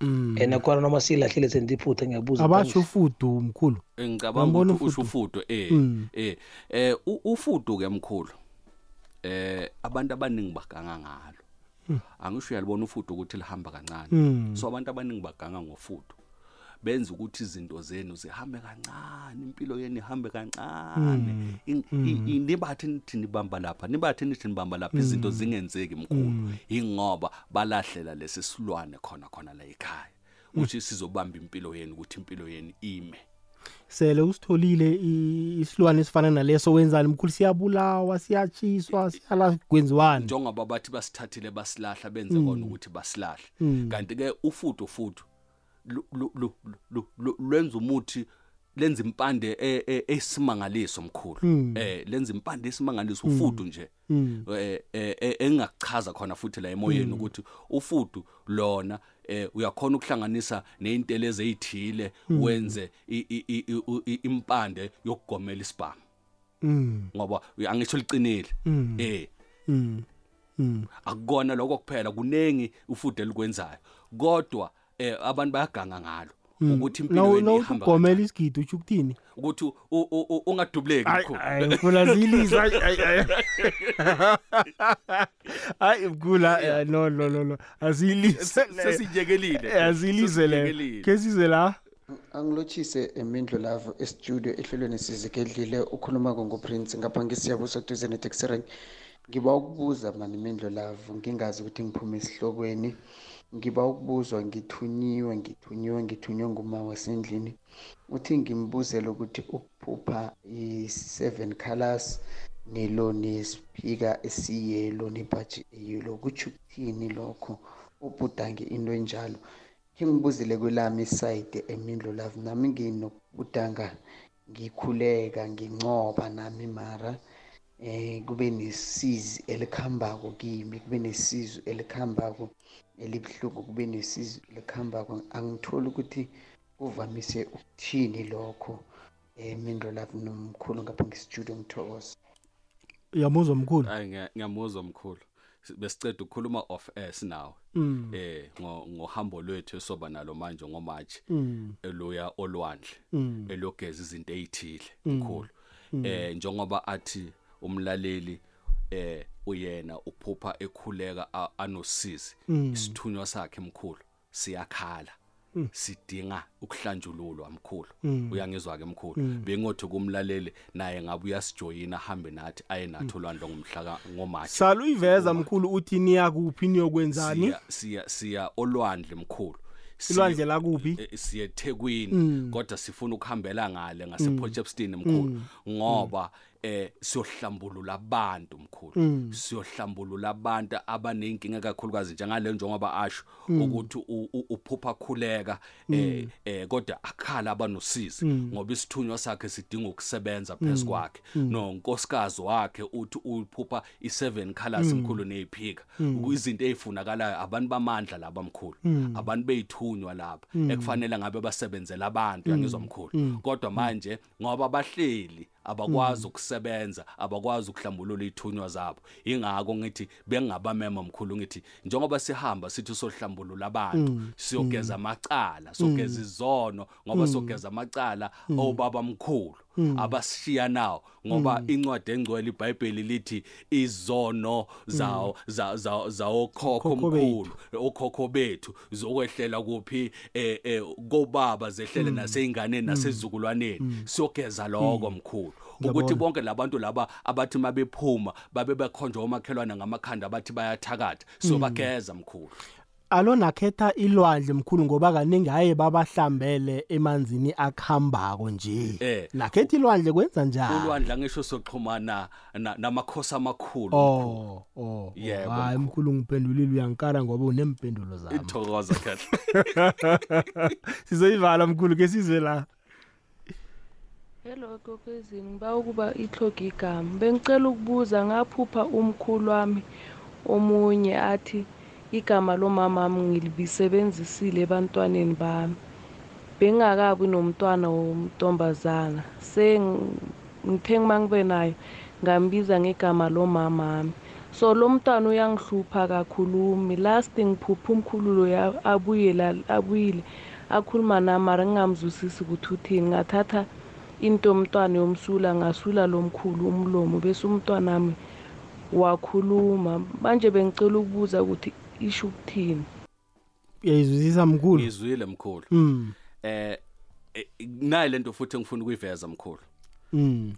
Speaker 2: Mm.
Speaker 7: and akhona noma siyilahlile senze iphutha ngiyabuza
Speaker 2: abasho ufudu mkhulu
Speaker 3: ngicabanga
Speaker 2: Ngiyambona
Speaker 3: ukuthi usho ufudo eh
Speaker 2: Mm.
Speaker 3: eh eh u- ufudo ke mkhulu eh abantu abaningi baganga ngalo
Speaker 2: Mm.
Speaker 3: angisho uyalibona ufudo ukuthi lihamba kancane
Speaker 2: Mm.
Speaker 3: so abantu abaningi baganga ngofudo benza ukuthi izinto zenu zihambe kancane impilo yenu ihambe kancane
Speaker 2: Mm.
Speaker 3: In- i-
Speaker 2: Mm.
Speaker 3: i- nibathi nithi nibamba lapha nibathi nithi nibamba lapha izinto
Speaker 2: Mm.
Speaker 3: zingenzeki mkhulu
Speaker 2: Mm.
Speaker 3: ingoba balahlela lesi silwane khona khona la ekhaya ukuthi sizobamba impilo yenu ukuthi impilo yenu ime
Speaker 2: sele usitholile i- isilwane esifana naleso wenzani mkhulu siyabulawa siyatshiswa siyala kwenziwani
Speaker 3: njengoba bathi basithathile basilahla benze
Speaker 2: Mm.
Speaker 3: kona ukuthi basilahle
Speaker 2: Mm.
Speaker 3: kanti ke ufudo fudo lu- lu- lu- lu- lu- lwenza umuthi lenza impande e- e- esimangaliso mkhulu
Speaker 2: Mm.
Speaker 3: eh lenza impande esimangaliso
Speaker 2: Mm.
Speaker 3: ufudo nje
Speaker 2: Mm.
Speaker 3: eh eh, eh, engingachaza khona futhi la emoyeni
Speaker 2: Mm.
Speaker 3: ukuthi ufudo lona eh uyakhona ukuhlanganisa neintele ezithile
Speaker 2: Mm.
Speaker 3: wenze i- i- i- i- i- impande yokugomela isibhamu
Speaker 2: Mm.
Speaker 3: ngoba angisho liqinile
Speaker 2: Mm.
Speaker 3: eh
Speaker 2: Mm. Mm.
Speaker 3: akukona lokho kuphela kunengi ufude elikwenzayo kodwa eh abantu bayaganga ngalo
Speaker 2: Mm.
Speaker 3: ukuthi
Speaker 2: Nawu-
Speaker 3: impilo yenu
Speaker 2: nawuthi
Speaker 3: ihamba
Speaker 2: ugomela isigidi utsho ukuthini
Speaker 3: ukuthi u- u- u- u- ungadubuleki
Speaker 2: Ayi,
Speaker 3: mkhulu.
Speaker 2: ayi, mkhulu, aziyilizwa, ayi, ayi,
Speaker 3: (laughs)
Speaker 2: ayi. (laughs) hayi mkhula no no no no asiyilise
Speaker 3: Se- sesiyijekelile.
Speaker 2: Eh, asiyilise leyo
Speaker 3: Sesiyijekelile.
Speaker 2: ke size la
Speaker 21: angilotshise emindlu lavo estudio ehlelweni sizigedlile ukhuluma-ko nguprince ngapha ngisiyabuso duze neteksi rank ngiba ukubuza mani imindlu lavo ngingazi ukuthi ngiphume esihlokweni ngiba ukubuzwa ngithunyiwe ngithunyiwe ngithunywe nguma wasendlini uthi ngimbuzele ukuthi ukuphupha i-seven colors nilo nesiphika esiyelo nebhaji eyelo kutsho ukuthini lokho ubhudange into enjalo khengibuzile kwelami isayide emindlo love nami nginokubudanga ngikhuleka ngincoba nami mara eh kube nesizi elikhambako kimi kube nesizo elikhambako elibuhlungu kube nesizo elikhambako angitholi ukuthi kuvamise ukuthini lokho eh, emindlo love nomkhulu ngapha ngestudio ngithokoza
Speaker 2: uyamuzwa mkhulu
Speaker 3: Hayi, ngiya- ngiyamuzwa mkhulu S- besiceda ukukhuluma off air sinawe
Speaker 2: Mm.
Speaker 3: eh ngo- ngohambo lwethu esoba nalo manje ngomatshi
Speaker 2: Mm.
Speaker 3: eluya olwandle
Speaker 2: Mm.
Speaker 3: elogeza izinto ezithile
Speaker 2: Mm.
Speaker 3: mkhulu
Speaker 2: Mm.
Speaker 3: eh njengoba athi umlaleli eh uyena uphupha ekhuleka a- anosizi
Speaker 2: Mm.
Speaker 3: isithunywa sakhe mkhulu siyakhala
Speaker 2: Mm.
Speaker 3: sidinga ukuhlanjululwa mkhulu
Speaker 2: Mm.
Speaker 3: uyangizwa ke mkhulu
Speaker 2: Mm.
Speaker 3: bengothi kumlaleli naye ngabe uyasijoyina ahambe nathi aye
Speaker 2: Mm.
Speaker 3: nathi olwandle ngomhla ngomatshi
Speaker 2: sala uyiveza mkhulu uthi niya kuphi niyokwenzani
Speaker 3: siya siya siya olwandle mkhulu Si-
Speaker 2: Ilwandle la kuphi?
Speaker 3: eh, siya eThekwini
Speaker 2: Mm.
Speaker 3: kodwa sifuna ukuhambela ngale
Speaker 2: Mm.
Speaker 3: ngasePortchefstroom mkhulu
Speaker 2: Mm.
Speaker 3: ngoba eh siyohlambulula abantu mkhulu
Speaker 2: Mm.
Speaker 3: siyohlambulula abantu abanenkinga kakhulukazi njengale njengoba asho
Speaker 2: Mm.
Speaker 3: ukuthi u- u- uphupha khuleka eh
Speaker 2: Mm.
Speaker 3: eh kodwa akhala abanosizi
Speaker 2: Mm.
Speaker 3: ngoba isithunywa sakhe sidinga ukusebenza phezulu
Speaker 2: Mm.
Speaker 3: kwakhe
Speaker 2: Mm.
Speaker 3: no unkosikazi wakhe uthi uphupha i7 colors
Speaker 2: Mm.
Speaker 3: mkhulu neyiphika
Speaker 2: Mm.
Speaker 3: izinto ezifunakalayo abantu bamandla laba mkhulu
Speaker 2: Mm.
Speaker 3: abantu beyithunywa lapha
Speaker 2: Mm.
Speaker 3: ekufanele ngabe basebenzela abantu
Speaker 2: Mm.
Speaker 3: yangizwa mkhulu
Speaker 2: Mm.
Speaker 3: kodwa manje ngoba bahleli abakwazi
Speaker 2: Mm.
Speaker 3: ukusebenza abakwazi ukuhlambulula ithunywa zabo ingako ngithi bengabamema mkhulu ngithi njengoba sihamba sithi sohlambulula abantu
Speaker 2: Mm.
Speaker 3: siyogeza amacala
Speaker 2: Mm.
Speaker 3: sogeza izono ngoba
Speaker 2: Mm.
Speaker 3: sogeza amacala
Speaker 2: Mm.
Speaker 3: obaba mkhulu abasishiya nawo ngoba incwadi engcwele ibhayibheli lithi izono zawo za- za- zawokhokho
Speaker 2: Khokho Mm. bethu.
Speaker 3: omkhulu okhokho bethu zokwehlela kuphi eh, eh, kobaba zehlele
Speaker 2: Mm.
Speaker 3: naseyinganeni
Speaker 2: Mm.
Speaker 3: nasezizukulwaneni
Speaker 2: Mm.
Speaker 3: siyogeza lokho mkhulu
Speaker 2: Ngiyabona.
Speaker 3: ukuthi bonke labantu laba abathi mabephuma babe bekhonjwa omakhelwane ngamakhanda abathi bayathakatha
Speaker 2: Mm.
Speaker 3: sobageza mkhulu
Speaker 2: alo nakhetha ilwandle mkhulu ngoba kaningi aye babahlambele emanzini akhambako
Speaker 3: Eh.
Speaker 2: nje nakhetha ilwandle kwenza njani
Speaker 3: ulwandla ngisho soxhumana na- namakhosi amakhulu
Speaker 2: oh oh
Speaker 3: Yebo,
Speaker 2: hayi mkhulu ngiphendulile uyankara ngoba unempendulo zami
Speaker 3: ithokoza kahle
Speaker 2: (laughs) sizoyivala mkhulu ke sizwe la
Speaker 22: hello kokwezini ngiba ukuba ihlogi igama bengicela ukubuza ngaphupha umkhulu wami omunye athi igama lomamami ngilibisebenzisile ebantwaneni bami bengingakabi nomntwana womntombazana seng- ngithe uma ngibe nayo ngambiza ngegama lomamami so lo mntwana uyangihlupha kakhulumi last ngiphupha umkhulu loya abuyela abuyile akhuluma nami mara ngingamzwisisi ukuthi uthini ngathatha into mntwana yomsula ngasula lomkhulu umlomo bese umntwanami wakhuluma manje bengicela ukubuza ukuthi isho ukuthini
Speaker 2: uyayizwisisa mkhulu
Speaker 3: ngizwile mkhulu
Speaker 2: Mm.
Speaker 3: eh eh, nayi lento futhi engifuna ukuyiveza mkhulu
Speaker 2: Mm.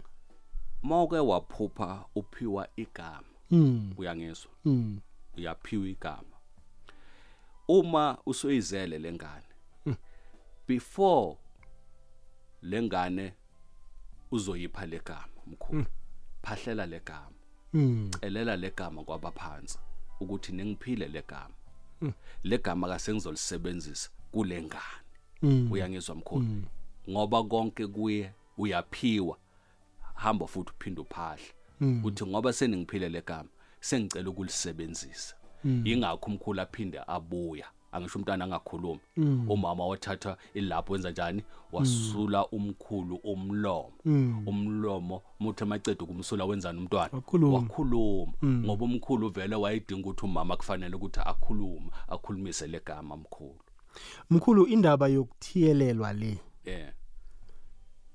Speaker 3: mawuke waphupha uphiwa igama
Speaker 2: Mm.
Speaker 3: uyangizwa
Speaker 2: Mm.
Speaker 3: uyaphiwa igama uma usoyizele lengane
Speaker 2: Hmm.
Speaker 3: before lengane uzoyipha legama mkhulu phahlela legama
Speaker 2: Mm.
Speaker 3: celela legama kwabaphansi ukuthi ningiphile legama
Speaker 2: Hmm.
Speaker 3: legama kasengizolisebenzisa kule ngane
Speaker 2: Mm.
Speaker 3: uyangizwa mkhulu
Speaker 2: Mm.
Speaker 3: ngoba konke kuye uyaphiwa hamba futhi uphinde uphahle
Speaker 2: Mm.
Speaker 3: uthi ngoba seningiphile legama sengicela ukulisebenzisa
Speaker 2: Mm.
Speaker 3: ingakho umkhulu aphinde abuya angisho umntwana angakhulumi
Speaker 2: Mm.
Speaker 3: umama wathatha ilapho wenza njani wasula umkhulu umlomo
Speaker 2: Mm.
Speaker 3: umlomo muthi amaceda ukumsula wenzani umntwana
Speaker 2: Wakhuluma.
Speaker 3: wakhuluma
Speaker 2: Mm.
Speaker 3: ngoba umkhulu vele wayedinga ukuthi umama kufanele ukuthi akhulume akhulumise legama mkhulu
Speaker 2: mkhulu indaba yokuthiyelelwa le
Speaker 3: eh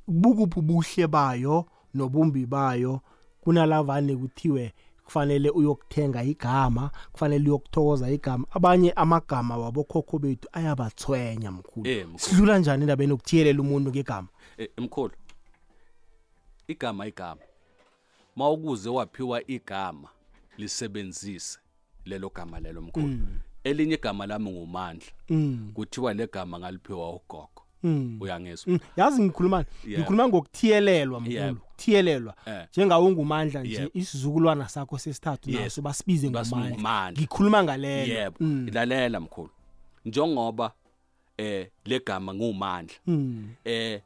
Speaker 2: bukuphi ubuhle bayo nobumbi bayo kunalavane kuthiwe kufanele uyokuthenga igama kufanele uyokuthokoza igama abanye amagama wabokhokho bethu ayabathwenya mkhulu
Speaker 3: Eh, mkhulu.
Speaker 2: sidlula njani endabeni yokuthiyelela umuntu ngegama
Speaker 3: Eh, mkhulu igama igama mawukuze waphiwa igama lisebenzise lelo gama lelo mkhulu
Speaker 2: Mm.
Speaker 3: elinye igama lami ngumandla
Speaker 2: Mm.
Speaker 3: kuthiwa legama ngaliphiwa ugogo
Speaker 2: Mm.
Speaker 3: uyangizwa
Speaker 2: Mm, yazi ngikhulumani
Speaker 3: Yeah.
Speaker 2: ngikhuluma ngokuthiyelelwa mkhulu
Speaker 3: Yebo.
Speaker 2: ukuthiyelelwa
Speaker 3: Eh.
Speaker 2: njengawe ungumandla nje
Speaker 3: Yebo.
Speaker 2: isizukulwana sakho sesithathu
Speaker 3: Yes.
Speaker 2: naso basibize ngumandla
Speaker 3: Basingumandla.
Speaker 2: ngikhuluma ngaleyo
Speaker 3: yebo
Speaker 2: Mm.
Speaker 3: lalela mkhulu njengoba eh legama ngumandla
Speaker 2: Mm.
Speaker 3: eh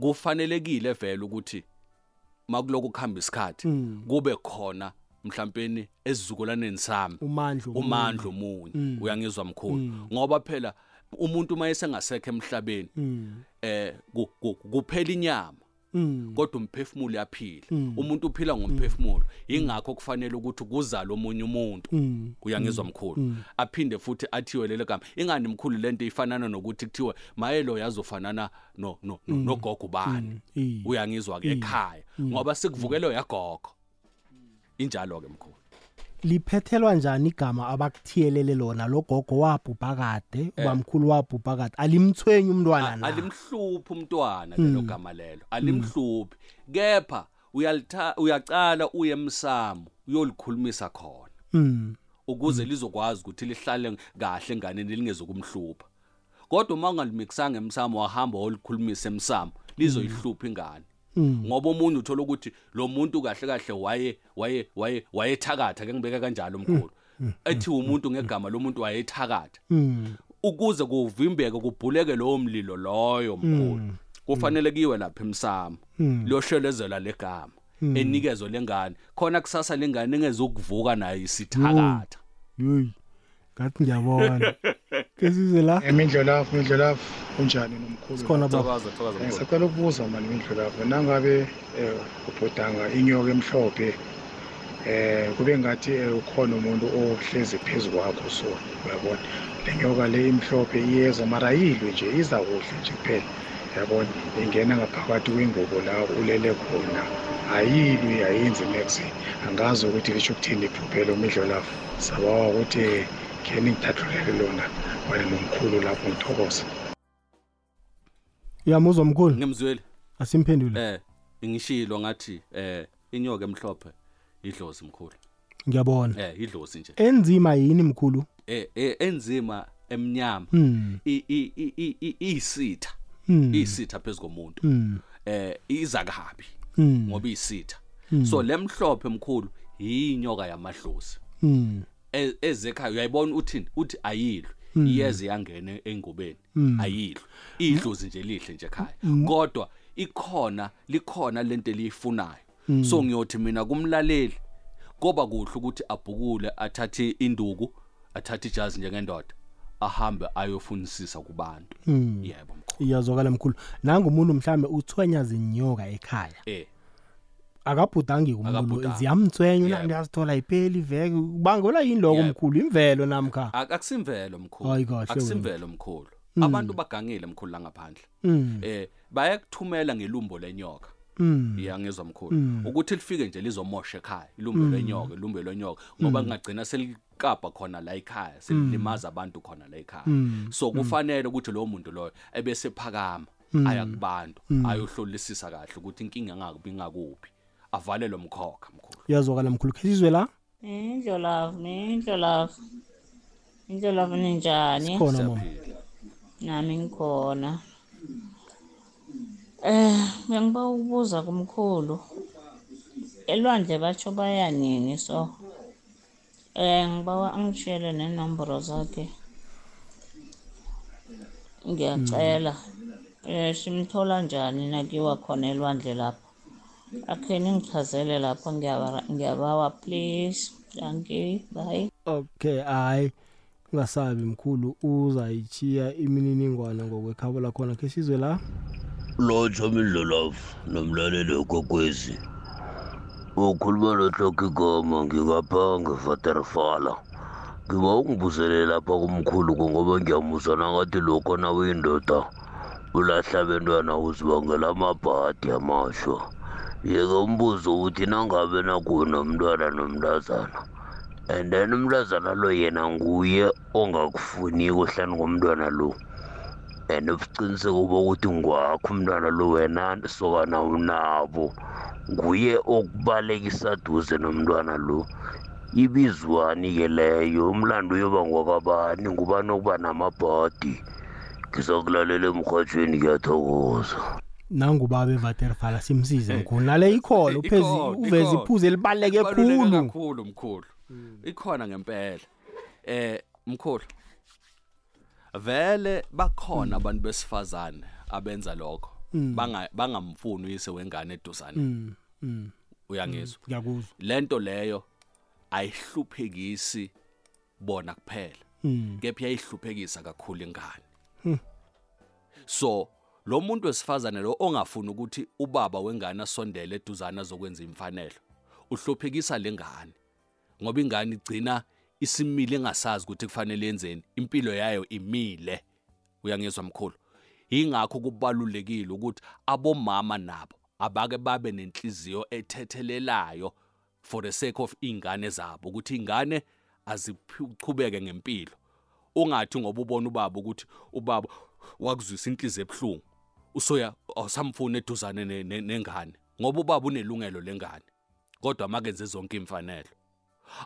Speaker 3: kufanelekile vele ukuthi makuloku kuhamba isikhathi
Speaker 2: Mm.
Speaker 3: kube khona mhlawumbeni esizukulaneni sami
Speaker 2: umandla omunye.
Speaker 3: umandla omunye
Speaker 2: Mm.
Speaker 3: uyangizwa
Speaker 2: Mm.
Speaker 3: mkhulu ngoba phela umuntu uma esengasekho emhlabeni
Speaker 2: Mm.
Speaker 3: eh ku- ku- kuphela inyama
Speaker 2: Mm.
Speaker 3: kodwa umphefumulo uyaphila
Speaker 2: Mm.
Speaker 3: umuntu uphila ngomphefumulo ingakho kufanele ukuthi kuzale omunye umuntu
Speaker 2: Mm.
Speaker 3: uyangizwa
Speaker 2: Mm.
Speaker 3: mkhulu
Speaker 2: Mm.
Speaker 3: aphinde futhi athiwe lelo gama ingani mkhulu lento ifanana nokuthi kuthiwe maye lo yazofanana no no no-
Speaker 2: Mm.
Speaker 3: nogogo bani
Speaker 2: Mm. Eh.
Speaker 3: uyangizwa ke
Speaker 2: Mm.
Speaker 3: ekhaya
Speaker 2: Mm.
Speaker 3: ngoba sekuvukelo yagogo injalo ke mkhulu
Speaker 2: liphethelwa njani igama abakuthiyelele lona logogo wabhubha kade
Speaker 3: Eh.
Speaker 2: ubamkhulu wabhubha kade alimthwenyi umntwana na
Speaker 3: alimhluphi umntwana lelo
Speaker 2: Mm.
Speaker 3: gama lelo alimhluphi kepha uyalitha- uyacala uye emsamo uyolikhulumisa khona
Speaker 2: Mm.
Speaker 3: ukuze lizokwazi ukuthi lihlale kahle enganeni lingezokumhlupha kodwa uma ungalimikisanga emsamo wahamba wolikhulumisa emsamo lizoyihlupha ingane
Speaker 4: Hmm.
Speaker 2: Mm.
Speaker 3: ngoba omunye uthola ukuthi lo muntu kahle kahle waye waye waye wayethakatha ke ngibeka kanjalo
Speaker 4: Hmm.
Speaker 3: mkhulu ethi umuntu ngegama lomuntu wayethakatha
Speaker 2: Mm.
Speaker 3: ukuze kuvimbeke kubhuleke lowo mlilo loyo mkhulu kufanele kiwe lapha emsamo
Speaker 2: Mm.
Speaker 3: liyoshelezelwa legama
Speaker 2: Mm.
Speaker 3: enikezwe lengane khona kusasa lengane engezokuvuka nayo isithakatha
Speaker 2: yoyi ngathi
Speaker 3: (laughs)
Speaker 2: ngiyabona ke size la
Speaker 23: emindlolafu mindlolafu kunjani nomkhulu
Speaker 2: Sikhona baba. Thokoza,
Speaker 23: Eh, ngisacela ukubuza mani mindlolafu nangabe um ubhodanga inyoka emhlophe um kube ngathi eh, ukhona umuntu ohlezi phezu kwakho so uyabona le nyoka le imhlophe iyeza mara ayilwe nje iza kuhle nje kuphela yabona ingena ngaphakathi kwengubo la ulele khona ayilwi ayenzi next angazi ukuthi lisho ukuthini iphuphelo umidlo lapho sabawa ukuthi khe ningithathulele lona wena nomkhulu lapho ngithokoza
Speaker 2: uyamuzwa mkhulu
Speaker 3: ngimzweli
Speaker 2: asimphendule
Speaker 3: eh ngishilo ngathi eh inyoka emhlophe idlozi mkhulu
Speaker 2: ngiyabona
Speaker 3: eh idlozi nje
Speaker 2: enzima yini mkhulu
Speaker 3: eh eh, enzima emnyama
Speaker 2: Hmm.
Speaker 3: I- i- i- i- i- iyisitha
Speaker 2: Hmm.
Speaker 3: iyisitha phezukomuntu
Speaker 2: Mm.
Speaker 3: eh iza kabi
Speaker 2: Mm.
Speaker 3: ngoba iyisitha
Speaker 2: Mm.
Speaker 3: so lemhlophe mkhulu yinyoka yamadlozi
Speaker 2: Mm.
Speaker 3: E- ezekhaya uyayibona uthini uthi ayilwe
Speaker 2: Mm.
Speaker 3: iyeze yangena engubeni
Speaker 2: Mm.
Speaker 3: ayilwe idlozi nje lihle nje ekhaya
Speaker 2: Mm.
Speaker 3: kodwa ikhona likhona lento eliyifunayo
Speaker 2: Mm.
Speaker 3: so ngiyothi mina kumlaleli koba kuhle ukuthi abhukule athathe induku athathe ijazi njengendoda ahambe ayofunisisa kubantu
Speaker 2: Mm.
Speaker 3: Yebo,
Speaker 2: iyazwakala mkhulu nangumuntu mhlambe uthwenya zinyoka ekhaya
Speaker 3: eh
Speaker 2: akabhudangi kumuntu
Speaker 3: Akabhudangi.
Speaker 2: ziyamthwenya
Speaker 3: Yebo.
Speaker 2: unandi azithola ipheli iveke ubangelwa yini lokho
Speaker 3: Yebo.
Speaker 2: mkhulu imvelo namkha
Speaker 3: A- akusimvelo
Speaker 2: Ah. Hayi
Speaker 3: mkhulu
Speaker 2: kahle wena.
Speaker 3: akusimvelo mkhulu
Speaker 2: Mm.
Speaker 3: abantu bagangile mkhulu la ngaphandle
Speaker 2: Mm.
Speaker 3: eh bayakuthumela ngelumbo lenyoka
Speaker 2: Mm.
Speaker 3: iyangizwa mkhulu
Speaker 2: Mm.
Speaker 3: ukuthi lifike nje lizomosha ekhaya ilumbe
Speaker 2: Mm.
Speaker 3: lenyoka ilumbe lenyoka ngoba
Speaker 2: Mm.
Speaker 3: kungagcina selikapa khona la ekhaya selilimaza abantu khona la ekhaya
Speaker 2: Mm.
Speaker 3: so
Speaker 2: Mm.
Speaker 3: kufanele ukuthi lowo muntu loyo ebesephakama
Speaker 2: Mm.
Speaker 3: aya kubantu
Speaker 2: Mm.
Speaker 3: ayohlolisisa kahle ukuthi inkinga ngakubi ngakuphi avalelwe mkhokha mkhulu
Speaker 2: iyazwakala mkhulu khe sizwe la
Speaker 8: Indlolavu, indlolavu. Indlolavu ninjani?
Speaker 2: Sikhona, mama.
Speaker 8: Nami ngikhona. Eh, ngiba ukubuza kumkhulu. Elwandle batsho bayanini so. Eh, ngibawa angishele nenombolo zakhe. Ngiyacela. Eh, simthola njani nakiwa khona elwandle lapha? akhe ningichazele lapho ngiyabara- ngiyabawa please thank you bye
Speaker 2: okay hayi ungasabi mkhulu uzayichiya imininingwane ngokwekhabo lakhona khe sizwe la
Speaker 4: lotsho mindlolafu nomlaleli wekokwezi ukhuluma notloko igoma ngingapha ngevaterfala ngiba ungibuzele lapha kumkhulu kungoba ngiyamusa nangathi lokho nawuyindoda ulahla bentwana uzibangela amabhadi amashwa yeke umbuzo uthi nangabe nakuna mntwana nomntazana and then umntazana lo yena nguye ongakufuniko hlani komntwana lo and ubuqiniseko bokuthi ngwakho umntwana lo wena sokana unabo nguye okubalekisa duze nomntwana lo ibizwani-ke leyo umlando uyoba ngokwabani ngubani okuba namabhodi ngizokulalela emrhatshweni ngiyathokoza
Speaker 2: nangubaba evaterfala simsize mkhulu
Speaker 3: (laughs)
Speaker 2: nale ikhona uphezi-
Speaker 3: Ikhona,
Speaker 2: uveze
Speaker 3: ikhona.
Speaker 2: iphuze elibaluleke
Speaker 3: Ibaluleke
Speaker 2: khulu Hmm.
Speaker 3: kakhulu mkhulu ikhona ngempela eh mkhulu vele bakhona
Speaker 2: Hmm.
Speaker 3: abantu besifazane abenza lokho
Speaker 2: Mm.
Speaker 3: Banga- bangamfuni uyise wengane eduzane
Speaker 2: Mm,
Speaker 3: Hmm.
Speaker 2: mm.
Speaker 3: uyangizwa
Speaker 2: ngiyakuzwa
Speaker 3: lento leyo ayihluphekisi bona kuphela
Speaker 2: Mm.
Speaker 3: kepha iyayihluphekisa kakhulu ingane
Speaker 2: Hmm.
Speaker 3: so lo muntu wesifazane lo ongafuni ukuthi ubaba wengane asondele eduzana azokwenza imfanelo uhluphekisa lengane ngoba ingane igcina isimile engasazi ukuthi kufanele yenzeni impilo yayo imile uyangizwa mkhulu ingakho kubalulekile ukuthi abomama nabo abake babe nenhliziyo ethethelelayo for the sake of ingane zabo ukuthi ingane azichubeke ngempilo ungathi ngoba ubona ubaba ukuthi ubaba wakuzwisa inhliziyo ebuhlungu usoya awusamfuni eduzane ne- ne- nengane ngoba ubaba unelungelo lengane kodwa makenze zonke imfanelo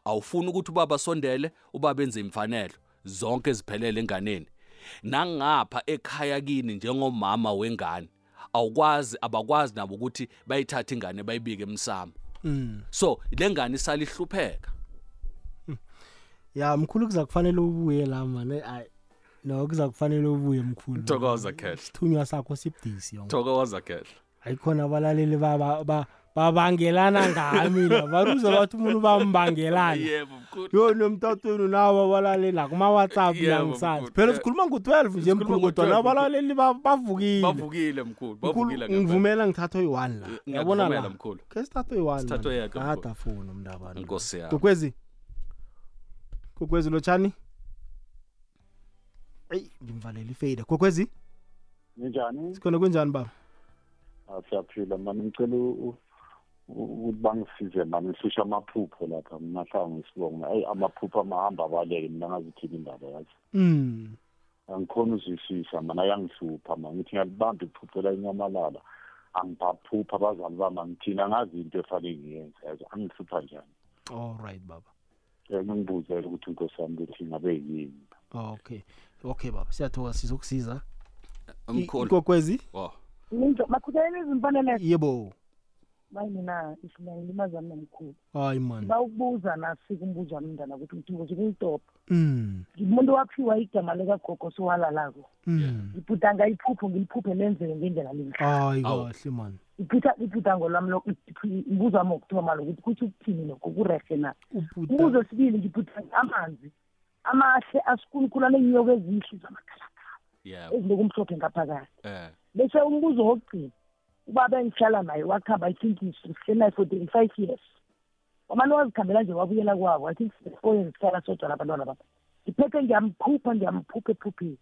Speaker 3: awufuni ukuthi ubaba sondele ubaba enze imfanelo zonke eziphelele enganeni nangapha ekhaya kini njengomama wengane awukwazi abakwazi nabo ukuthi bayithathe ingane bayibike emsamo
Speaker 2: Mm.
Speaker 3: so le ngane isale ihlupheka
Speaker 2: ya mkhulu kuza kufanele ubuye la mane ayi no kuza kufanele ubuye mkhulu
Speaker 3: Thokoza, Khehla.
Speaker 2: isithunywa sakho sibudisi yona
Speaker 3: thokoza khehla
Speaker 2: ayikhona abalaleli ba- ba- ba- babangelana ngami la baruze bathi umuntu bambangelana
Speaker 3: yebo mkhulu
Speaker 2: yo nomtatweni nabo abalaleli akumawhatsapp
Speaker 3: Yebo,
Speaker 2: yangisazi
Speaker 3: mkhulu,
Speaker 2: phela
Speaker 3: eh.
Speaker 2: sikhuluma ngo-twelve nje
Speaker 3: Sikhuluma
Speaker 2: mkhulu kodwa
Speaker 3: ngo-12.
Speaker 2: nabalaleli ba- bavukile
Speaker 3: bavukile mkhulu bavukile
Speaker 2: Mkhulu,
Speaker 3: ngempela.
Speaker 2: ngivumela ngithathwe yi-one la yabona
Speaker 3: ngiyakuvumela,
Speaker 2: la
Speaker 3: mkhulu.
Speaker 2: ke sithathwe yi-one
Speaker 3: Sithathwe
Speaker 2: man.
Speaker 3: yedwa,
Speaker 2: Gada
Speaker 3: mkhulu.
Speaker 2: foni umndaba
Speaker 3: nkosi yami
Speaker 2: kokwezi kokwezi lotshani eyi ngimvalela ifeyida kokwezi
Speaker 24: ninjani
Speaker 2: sikhona kunjani baba
Speaker 24: Ah, siyaphila mani ngicela u- u- ukuthi bangisize mani ngihlusha amaphupho lapha nginahlala ngesibongo eyi amaphupho amahamba abaleke mina ngazithini indaba yazi
Speaker 2: Mm.
Speaker 24: angikhona uzwisisa mani ayangihlupha mani ngithi ngiyalibamba iphupho la inyamalala angibaphupha abazali bami angithini angazi into efanele ngiyenze yazi angihlupha njani
Speaker 2: all right baba
Speaker 24: Eh, ngingibuzele ukuthi inkosi yami ukuthi ngabe yini
Speaker 2: Oh, okay okay baba siyathoka sizokusiza
Speaker 3: Mkhulu.
Speaker 2: ikokwezi
Speaker 3: Wow.
Speaker 14: makhuthalela izimfaneleko
Speaker 2: yebo
Speaker 14: bayi mina isimayini imazami nomkhulu
Speaker 2: hayi man
Speaker 14: ba ukubuza nasika umbuzo wami mndana ukuthi ngithokoze ukuyidobha
Speaker 2: Mm.
Speaker 14: ngimuntu waphiwa igama likagogo sowalalako
Speaker 2: Mm. Ah.
Speaker 14: ibhudanga iphupho ngiliphuphe lenzeke ngendlela lenhle
Speaker 2: hayi kahle man
Speaker 14: iphitha ibhudango lwami lo- iphi- umbuzo wami wokuthoma lokuthi kuthi ukuthini lokho kurehe na
Speaker 2: Ubhuda-
Speaker 14: umbuzo sibili ngibhutha amanzi amahle asikhulukhulane inyoko ezihle zamakhalakhala
Speaker 3: yebo
Speaker 14: ezinokumhlophe ngaphakathi
Speaker 3: eh
Speaker 14: bese umbuzo wokugcina ubaba engihlala naye wakhamba i think senaye for thirty five years wamane wazikhambela nje wabuyela kwabo i think sifone sihlala sodwa labantwana baba ngiphethe ngiyamphupha ngiyamphupha ephupheni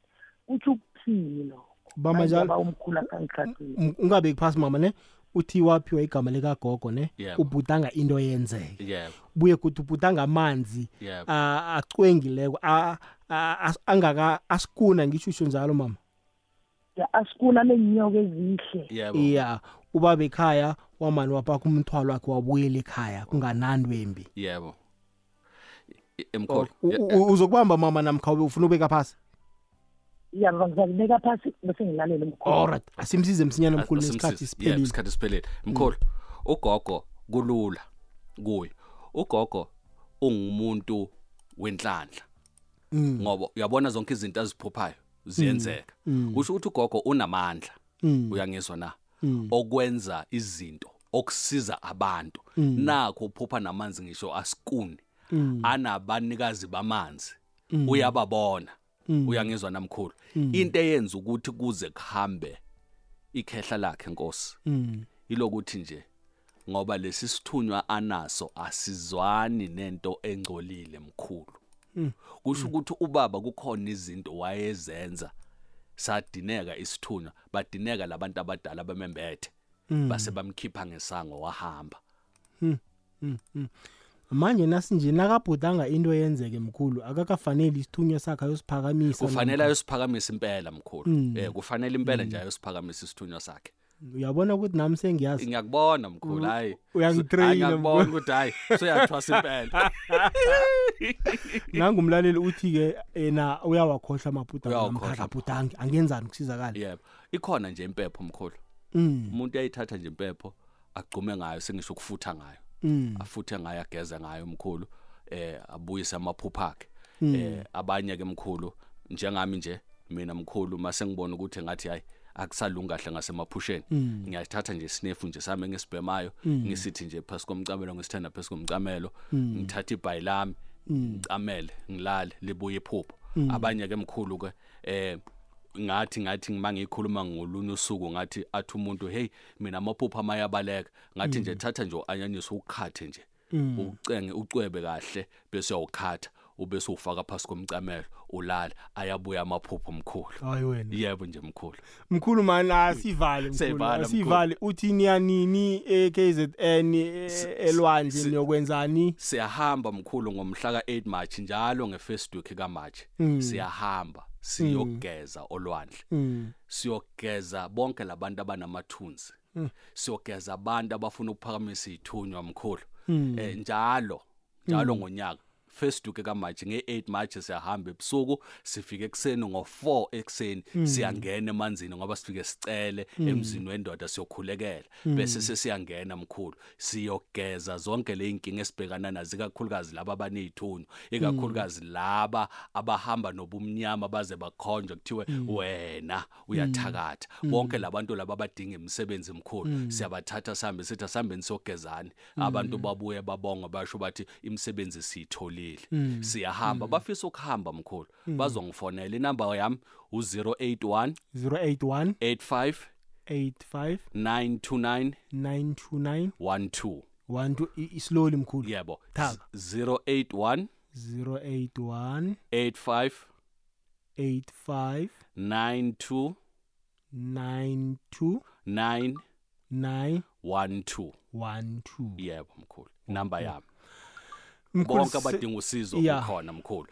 Speaker 14: kutho ukuthini lokho
Speaker 2: bama njalo
Speaker 14: umkhulu akangihlathile
Speaker 2: M- ungabeki phasi mama ne uthi waphiwa igama likagogo ne
Speaker 3: Yebo.
Speaker 2: ubhudanga into yenzeke
Speaker 3: yebo
Speaker 2: buye kuthi ubhudanga amanzi
Speaker 3: Yebo.
Speaker 2: ah, acwengileko a- a- as- angaka asikuna ngishutsho njalo mama
Speaker 14: ya asikuna neenyoko ezihle
Speaker 2: iya ubaba ekhaya wamani wapaka umthwalo wakhe wabuyela ekhaya kunganandwembi
Speaker 3: yebo I- emkhulu
Speaker 2: U-
Speaker 3: Yeah,
Speaker 2: u- uzokubamba mama namkhawube ufuna ubeka phasi
Speaker 14: ya ngizakubeka phasi bese ngilalele umkhulu
Speaker 2: allright asimsize msinyana
Speaker 3: as-
Speaker 2: mkhulu
Speaker 3: asimsize.
Speaker 2: nesikhathi
Speaker 3: Yeah,
Speaker 2: siphelile Mm.
Speaker 3: isikhathi siphelile mkhulu ugogo kulula kuye ugogo ungumuntu wenhlanhla
Speaker 2: Mm.
Speaker 3: ngoba uyabona zonke izinto aziphuphayo ziyenzeka
Speaker 2: Mm.
Speaker 3: kusho ukuthi ugogo unamandla
Speaker 2: Mm.
Speaker 3: uyangizwa na
Speaker 2: Mm.
Speaker 3: okwenza izinto okusiza abantu
Speaker 2: Mm.
Speaker 3: nakho uphupha namanzi ngisho asikuni Hmm.
Speaker 2: Mm.
Speaker 3: anabanikazi bamanzi
Speaker 2: Mm.
Speaker 3: uyababona
Speaker 2: Mm.
Speaker 3: uyangizwa namkhulu
Speaker 2: Mm.
Speaker 3: into eyenza ukuthi kuze kuhambe ikhehla lakhe nkosi
Speaker 2: Mm.
Speaker 3: ilokuthi nje ngoba lesi sithunywa anaso asizwani nento engcolile mkhulu
Speaker 2: Mm.
Speaker 3: kusho ukuthi ubaba kukhona izinto wayezenza sadineka isithunywa badineka labantu abadala bemembethe
Speaker 2: Mm.
Speaker 3: base bamkhipha ngesango wahamba
Speaker 2: Hmm, hmm, hmm. manje nasinje nakabhudanga into yenzeke mkhulu akakafaneli isithunywa sakhe ayosiphakamisa
Speaker 3: kufanele ayosiphakamisa impela mkhulu
Speaker 2: Mm.
Speaker 3: eh kufanele impela nje ayosiphakamisa isithunywa sakhe
Speaker 2: nam- uyabona ukuthi nami sengiyazi
Speaker 3: ngiyakubona mkhulu hayi
Speaker 2: uyangitraina,
Speaker 3: ngiyakubona
Speaker 2: mkhulu.
Speaker 3: ukuthi hayi
Speaker 2: (laughs)
Speaker 3: soyathwasa impela
Speaker 2: nangumlaleli uthi-ke yena uyawakhohlwa
Speaker 3: Uyawakhohlwa.
Speaker 2: amabhudangamkhahlabhudange angenzani ukusizakala
Speaker 3: yebo ikhona nje impepho mkhulu
Speaker 2: Mm.
Speaker 3: umuntu uyayithatha nje impepho agcume ngayo sengisho ukufutha ngayo
Speaker 2: Mm.
Speaker 3: afuthe ngayo ageze ngayo mkhulu eh abuyise amaphupho akhe
Speaker 2: Mm.
Speaker 3: eh abanye ke mkhulu njengami nje mina mkhulu mase ngibona ukuthi ngathi hayi akusalungi kahle ngasemaphusheni
Speaker 2: Mm.
Speaker 3: ngiyathatha nje isinefu nje sami ngesibhemayo
Speaker 2: Mm.
Speaker 3: ngisithi nje phasi komcamelo ngisithanda phasi komcamelo
Speaker 2: Mm.
Speaker 3: ngithatha ibhayi lami
Speaker 2: Mm.
Speaker 3: Hmm. ngicamele ngilale libuye iphupho
Speaker 2: Mm.
Speaker 3: abanye ke mkhulu ke eh ngathi ngathi uma ngiyikhuluma ngolunye usuku ngathi athi umuntu hey mina amaphupho amayabaleka ngathi
Speaker 2: Mm.
Speaker 3: nje thatha nje u-anyanisi ukhathe nje
Speaker 2: Mm.
Speaker 3: Hmm. ucenge ucwebe kahle bese uyawukhatha ubese ufaka phasi komcamelo ulala ayabuya amaphupho mkhulu
Speaker 2: Hayi wena.
Speaker 3: yebo nje mkhulu
Speaker 2: mkhulu mani asivale mkhulu,
Speaker 3: Siyayivala, mkhulu.
Speaker 2: asivale uthi niyanini e-kzn elwandle
Speaker 3: si-
Speaker 2: niyokwenzani
Speaker 3: siyahamba mkhulu ngomhla ka-8 march njalo nge-first week kamarch
Speaker 2: Mm.
Speaker 3: siyahamba siyogeza olwandle
Speaker 2: Mm.
Speaker 3: siyogeza bonke labantu abanamathunzi
Speaker 2: Mm.
Speaker 3: siyogeza abantu abafuna ukuphakamisa ithunywa mkhulu
Speaker 2: Mm.
Speaker 3: eh njalo njalo
Speaker 2: Mm.
Speaker 3: ngonyaka first week kamarch nge-8 march siyahamba ebusuku sifike ekuseni ngo-4 ekuseni
Speaker 2: Mm.
Speaker 3: siyangena emanzini ngoba sifike sicele
Speaker 2: Mm.
Speaker 3: emzini wendoda siyokhulekela
Speaker 2: Mm.
Speaker 3: bese sesiyangena mkhulu siyogeza zonke le y'nkinga esibhekana nazo ikakhulukazi laba abaney'thunywa ikakhulukazi laba abahamba nobumnyama baze bakhonjwa kuthiwe wena uyathakatha
Speaker 2: Mm.
Speaker 3: bonke labantu laba abadinga imisebenzi
Speaker 2: Mm.
Speaker 3: mkhulu siyabathatha sihambe sithi asihambeni siyogezani abantu
Speaker 2: Hmm.
Speaker 3: babuye babonga basho bathi imisebenzi siyitholile
Speaker 2: Mm.
Speaker 3: siyahamba bafisa ukuhamba mkhulu
Speaker 2: Mm.
Speaker 3: bazongifonela inamba yami u-081
Speaker 2: 081
Speaker 3: 85
Speaker 2: 85
Speaker 3: 929
Speaker 2: 929
Speaker 3: 12
Speaker 2: 1 isiloli mkhulu
Speaker 3: yebo
Speaker 2: Thaba.
Speaker 3: 081
Speaker 2: 081
Speaker 3: 85
Speaker 2: 85
Speaker 3: 92
Speaker 2: nine two
Speaker 3: nine
Speaker 2: nine
Speaker 3: one two
Speaker 2: one two
Speaker 3: yebo mkhulu inamba yami
Speaker 2: Mkhulu,
Speaker 3: bonke
Speaker 2: se-
Speaker 3: abadinga usizo
Speaker 2: Yeah.
Speaker 3: kukhona mkhulu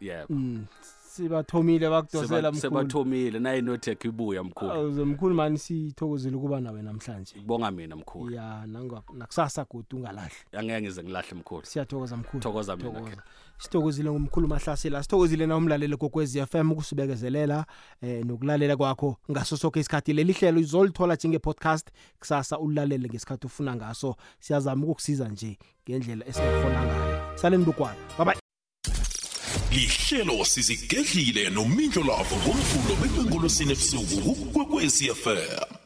Speaker 3: yebo
Speaker 2: Mm, sebathomile bakudosela
Speaker 3: Seba-
Speaker 2: mkhulu
Speaker 3: sebathomile naye nothekho ibuya mkhulu
Speaker 2: Awu, mkhulu mani sithokozile ukuba nawe namhlanje
Speaker 3: bonga mina mkhulu
Speaker 2: ya nanga- nakusasa godi ungalahli
Speaker 3: angeke ngize ngilahle mkhulu
Speaker 2: siyathokoza mkhulu
Speaker 3: thokoza mina
Speaker 2: Thokoza.
Speaker 3: khe.
Speaker 2: sithokozile ngumkhulu mahlasela sithokozile nawumlaleli kokwez FM ukusibekezelela eh, nokulalela kwakho ngaso sonke isikhathi leli hlelo izolithola njenge-podcast kusasa ulilalele ngesikhathi ufuna ngaso siyazama ukukusiza nje ngendlela esingafona ngayo saleni lukwana babayi
Speaker 1: lihlelo sizigedlile nomindlo lavo ngomvulo bekwengolosini ebusuku kukwekwezi fm